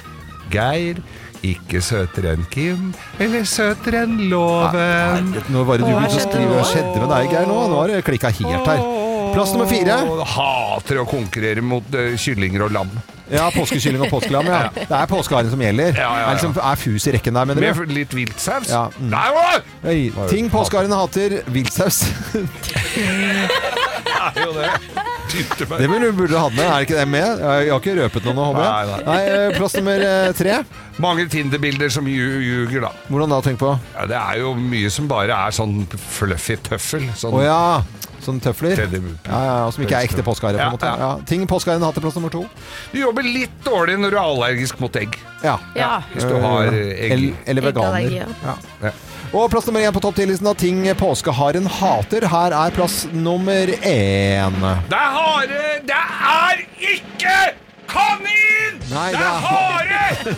Speaker 2: Geir. Ikke søtere enn Kim, eller søtere enn Loven.
Speaker 1: Nå var det du begynte å skrive. Hva skjedde med deg, Geir? Nå Nå har det klikka helt her. Plass nummer fire.
Speaker 2: Åh, Hater å konkurrere mot eh, kyllinger og lam.
Speaker 1: Ja, påskekylling og påskelam. Ja. Det er påskeharen som gjelder.
Speaker 2: Ja, ja, ja.
Speaker 1: Er, liksom, er fus i rekken der, mener
Speaker 2: Med
Speaker 1: du?
Speaker 2: f- litt viltsaus.
Speaker 1: Ja, mm.
Speaker 2: Nei, hva?
Speaker 1: Nei, Ting påskeharen hater. Viltsaus.
Speaker 2: Det er jo det. Dytter meg.
Speaker 1: Det burde du burde hatt med. Er ikke det med? Jeg har ikke røpet noe nå, håper jeg.
Speaker 2: Nei,
Speaker 1: Nei, eh, plass nummer eh, tre.
Speaker 2: Mange Tinder-bilder som ju- ljuger, da.
Speaker 1: Hvordan da, tenk på?
Speaker 2: Ja, det er jo mye som bare er sånn fluffy tøffel. Sånn
Speaker 1: Å ja, sånne tøfler. Ja,
Speaker 2: teddy-
Speaker 1: ja, ja, Som ikke er ekte påskehare, på
Speaker 2: Ja,
Speaker 1: en måte.
Speaker 2: ja.
Speaker 1: Ja. Ting påskeharen hater, plass nummer to.
Speaker 2: Du jobber litt dårlig når du er allergisk mot egg.
Speaker 1: Ja.
Speaker 7: Ja.
Speaker 2: Hvis du har eh, egg.
Speaker 1: El- Eller veganer.
Speaker 7: Eggallergi, ja.
Speaker 1: Ja.
Speaker 2: Ja.
Speaker 1: Og plass nummer én på topp 10-listen av ting påskeharen hater. Her er plass nummer én.
Speaker 2: Det er hare! Det er ikke kanin!
Speaker 1: Nei,
Speaker 2: det,
Speaker 1: det er-
Speaker 2: er hare!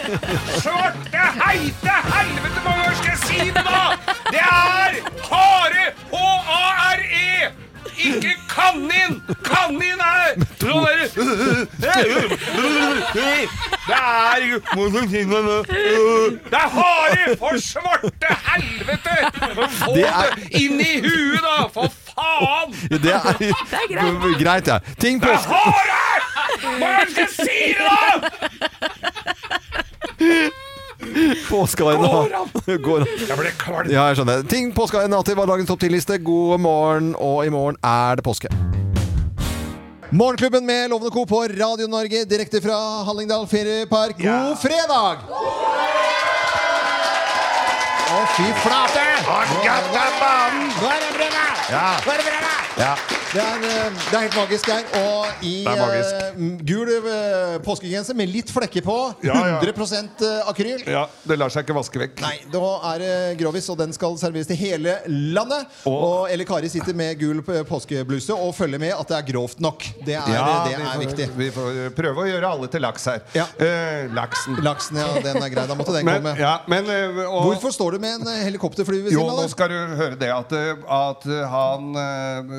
Speaker 2: Svarte heite helvete, hvor mange ganger skal jeg si det da? Det er hare! H-a-r-e! E. Ikke kanin! Kanin er sånn der Det er Det er hare for svarte helvete! Få
Speaker 1: Det
Speaker 2: det
Speaker 1: er-
Speaker 2: inn i huet, da! For faen!
Speaker 1: Ja, Det er, greit. ja. Ting
Speaker 2: Det er
Speaker 1: påske...
Speaker 2: håret! Hva er det jeg skal si det, da?!
Speaker 1: Påskeharen
Speaker 2: Går
Speaker 1: hater. Går an.
Speaker 2: Jeg ble kvalm.
Speaker 1: Ja, jeg skjønner. Ting påskeharen hater var dagens topp 10-liste. God morgen, og i morgen er det påske. Morgenklubben med Lovende Co på Radio Norge, direkte fra Hallingdal feriepark. God fredag! Å, fy flate! Nå er det-
Speaker 2: banen!
Speaker 1: Nå er det fredag!
Speaker 2: Ja.
Speaker 1: Nå er det fredag!
Speaker 11: Ja. Det er, eh, det er helt magisk her. Og i
Speaker 2: Det er magisk.
Speaker 11: eh, gul eh, påskegenser med litt flekker på.
Speaker 2: Ja, ja.
Speaker 11: 100 eh, akryl.
Speaker 2: Ja, Det lar seg ikke vaske vekk.
Speaker 11: Nei, da er det grovis, og den skal serveres til hele landet. Og, Elle Kari sitter med gul p- påskebluse og følger med at det er grovt nok. Det er, det
Speaker 2: vi
Speaker 11: er
Speaker 2: får,
Speaker 11: viktig.
Speaker 2: Vi får prøve å gjøre alle til laks her. Eh, laksen.
Speaker 11: Laksen, ja, den er grei. Da måtte den
Speaker 2: men,
Speaker 11: komme.
Speaker 2: Ja, men, eh, og,
Speaker 11: Hvorfor står du med en eh, helikopterfly ved
Speaker 2: Jo,
Speaker 11: siden av?
Speaker 2: nå
Speaker 11: deg?
Speaker 2: skal du høre det at, eh, at eh, han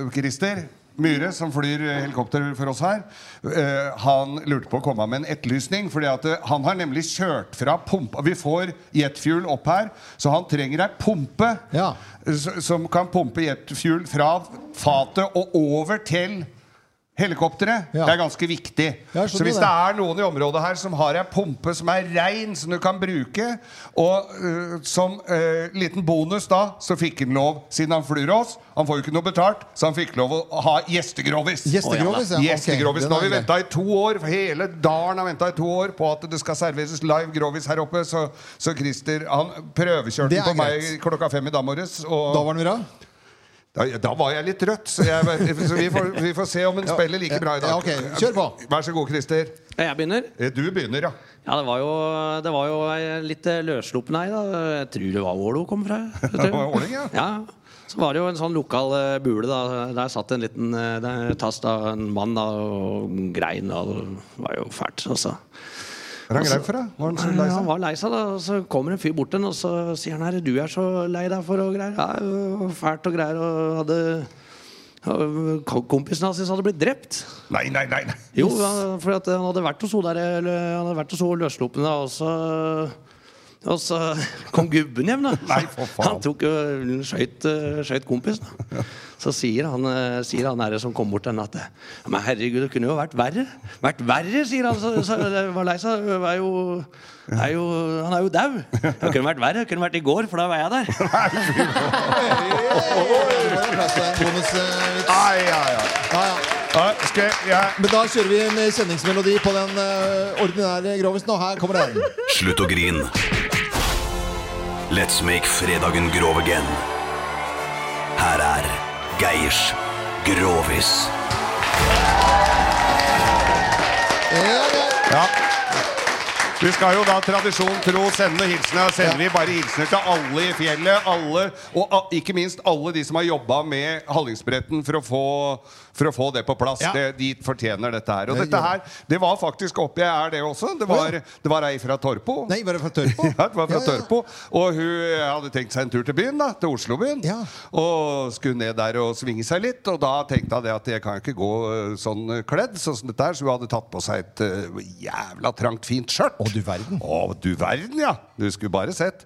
Speaker 2: eh, Christer Myhre, som flyr eh, helikopter for oss her, eh, han lurte på å komme med en etterlysning. fordi at eh, han har nemlig kjørt fra pumpa Vi får jetfuel opp her, så han trenger ei pumpe eh, s- som kan pumpe jetfuel fra fatet og over til Helikopteret det er ganske viktig.
Speaker 11: Jeg skjønner
Speaker 2: Så hvis
Speaker 11: det.
Speaker 2: det er noen i området her som har ei pumpe som er rein, som du kan bruke, og øh, som øh, liten bonus da, så fikk han lov, siden han flyr oss Han får jo ikke noe betalt, så han fikk lov å ha gjestegrovis.
Speaker 11: Gjestegrovis, ja, ok.
Speaker 2: Gjestegrovis.
Speaker 11: Den
Speaker 2: Nå
Speaker 11: er
Speaker 2: har vi
Speaker 11: grei.
Speaker 2: venta i to år, for hele dalen har venta i to år på at det skal serveres live grovis her oppe, så, så Christer han prøvekjørte
Speaker 11: Det
Speaker 2: den
Speaker 11: er
Speaker 2: på meg
Speaker 11: greit.
Speaker 2: klokka fem i dag morges. Og
Speaker 11: Da var den bra?
Speaker 2: Da, da var jeg litt trøtt, så, jeg, så vi, får, vi får se om hun
Speaker 12: Ja,
Speaker 2: spiller like bra i dag.
Speaker 12: ja, ok. Kjør
Speaker 2: på. Vær så god, Christer.
Speaker 12: Ja, Jeg begynner.
Speaker 2: Eh, Du begynner, ja.
Speaker 12: Ja, Det var jo, det var jo ei litt eh, løssluppen ei. da. Jeg tror det var Ålo kom fra. vet du.
Speaker 2: Det var Åling, ja.
Speaker 12: Så var det jo en sånn lokal eh, bule. da Der satt en liten eh, der tass da, en mann da, og grein. Da. Det var jo fælt. Altså.
Speaker 2: Er han
Speaker 12: Og så-
Speaker 2: grei for deg? Var han så lei
Speaker 12: Ja, han
Speaker 2: seg?
Speaker 12: var lei seg, da. Og så kommer en fyr bort til han, og så sier han her Du er så lei deg for og greier. Ja, det var fælt og greier. Og hadde og Kompisen hans hadde blitt drept.
Speaker 2: Nei, nei, nei. nei.
Speaker 12: Jo, ja, for at øh, han hadde vært hos hun der eller, Han hadde vært hos hun løssluppende, og så Og så kom gubben hjem, da. han tok jo skøyt, eh, skøyt kompisen. Da. Så sier han, eh, sier han her som kom bort til henne, at eh, Men herregud, det kunne jo vært verre. Vært verre, sier han. Så, så jeg var lei seg. Det øh, var jo- er jo, han er jo dau. Det kunne vært verre. Det kunne vært i går, for da var jeg der.
Speaker 11: eh,
Speaker 2: Ai, ai, ai. Ja, skal jeg,
Speaker 11: Men da kjører vi en kjenningsmelodi på den eh, ordinære grovisen, og her kommer den.
Speaker 13: Slutt å grin. Let's make fredagen grov again. Her er Geirs Grovis.
Speaker 2: Ja. Vi skal jo da tradisjon tro sende noen hilsener. Sender vi bare hilsener til alle i fjellet. Alle, og a- ikke minst alle de som har jobba med Hallingsbretten for å få, for å få det på plass.
Speaker 11: Ja.
Speaker 2: Det, de fortjener dette her. Og
Speaker 11: Det
Speaker 2: dette
Speaker 11: gjør
Speaker 2: her, det var faktisk oppi her, det også. Det var, det var ei fra Torpo.
Speaker 11: Nei, var det fra Tørpo?
Speaker 2: Ja, det var fra Tørpo. Og hun hadde tenkt seg en tur til byen, da, til Oslobyen. Og skulle ned der og svinge seg litt. Og da tenkte hun det at jeg kan ikke gå eh, sånn eh, kledd, sånn som dette her. Så hun hadde tatt på seg et eh, jævla trangt, fint skjørt. Å, du verden. Å, du verden, ja. Du skulle bare sett.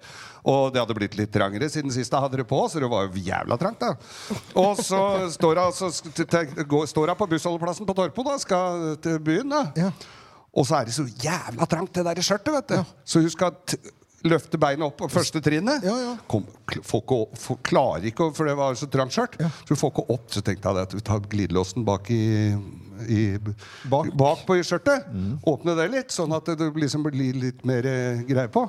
Speaker 2: Og det hadde blitt litt trangere siden sist jeg hadde det på, så det var jo jævla trangt, da. Og så står hun altså sk- te- te- går- står hun på bussholdeplassen på Torpo, da, skal til byen, da. Og så er det så jævla trangt, det der skjørtet, vet du. Så hun skal t løfte beina opp på første trinnet. Kom, kl- får ikke å- får- klarer ikke å For det var så trangt skjørt. Så hun får ikke opp. Så tenkte jeg det at vi tar glidelåsen bak i, i bak. på skjørtet. Åpne det litt, sånn at det liksom blir litt mer eh, greie på.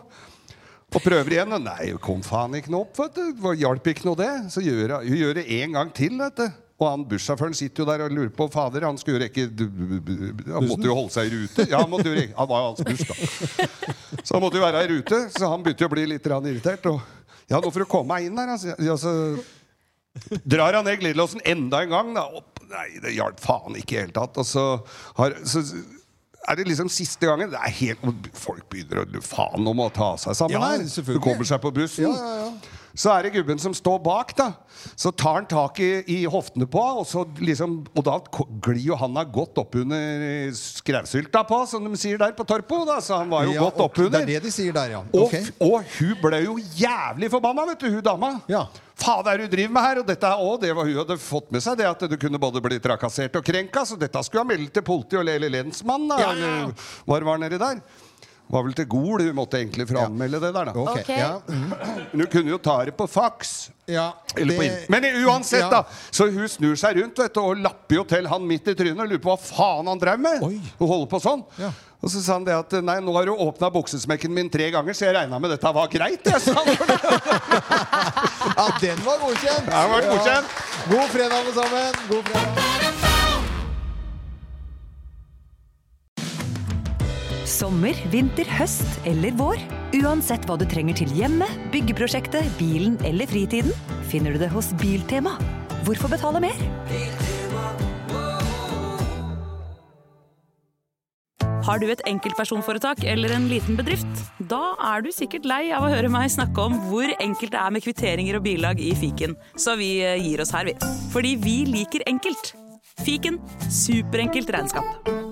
Speaker 2: Og prøver igjen. og Nei, kom faen ikke noe opp. vet du. Hva- Hjalp ikke noe det. Så gjør hun hun gjør det en gang til. vet du. Og han bussjåføren sitter jo der og lurer på Fader, han skulle jo rekke du- du- du- Han måtte jo holde seg i rute. Ja, han, måtte jo rekke, han var jo hans buss, da. Så han måtte jo være i rute. Så han begynte jo å bli litt grann irritert. Og ja, nå får du komme meg inn her. Altså. Ja, så drar han ned glidelåsen enda en gang. Da. Opp. Nei, det hjalp faen ikke i det hele tatt. Og så, har, så er det liksom siste gangen. Det er helt, og folk begynner å Faen, nå må han ta seg sammen
Speaker 11: Ja,
Speaker 2: her.
Speaker 11: selvfølgelig.
Speaker 2: Du kommer seg på bussen.
Speaker 11: Ja, ja, ja.
Speaker 2: Så er det gubben som står bak, da. Så tar han tak i, i hoftene på han, og, så liksom, og da ko- glir jo han da godt oppunder skrausylta på, som de sier der på Torpo. Da. Så han var jo
Speaker 11: Ja,
Speaker 2: godt
Speaker 11: og
Speaker 2: oppunder.
Speaker 11: Det er det de sier der, ja.
Speaker 2: Og,
Speaker 11: Ok.
Speaker 2: og hun ble jo jævlig forbanna, vet du, hun dama. Faen, det er det du driver med her? Og dette er også det var hun hadde fått med seg, det at du kunne både bli trakassert og krenka, så dette skulle hun melde til politi og lele lensmann, da, eller hva det var nedi der. Var vel til Gol hun måtte egentlig for å anmelde det der, da.
Speaker 11: Ok. Ja.
Speaker 2: Men hun kunne jo ta det på fax.
Speaker 11: Ja,
Speaker 2: Eller på
Speaker 11: det-
Speaker 2: inn- Men uansett,
Speaker 11: Ja.
Speaker 2: da. Så hun snur seg rundt vet du, og lapper jo til han midt i trynet og lurer på hva faen han drev med. Og holder på sånn. Og så sa han det at nei, nå har du åpna buksesmekken min tre ganger, så jeg regna med dette var greit. Jeg, sa han.
Speaker 11: Ja, den var godkjent!
Speaker 2: Jeg var godkjent. God fredag, alle sammen. God fredag.
Speaker 9: Sommer, vinter, høst eller vår. Uansett hva du trenger til hjemmet, byggeprosjektet, bilen eller fritiden, finner du det hos Biltema. Hvorfor betale mer?
Speaker 8: Har du et enkeltpersonforetak eller en liten bedrift? Da er du sikkert lei av å høre meg snakke om hvor enkelt det er med kvitteringer og bilag i fiken, så vi eh, gir oss her, vi. Fordi vi liker enkelt. Fiken superenkelt regnskap.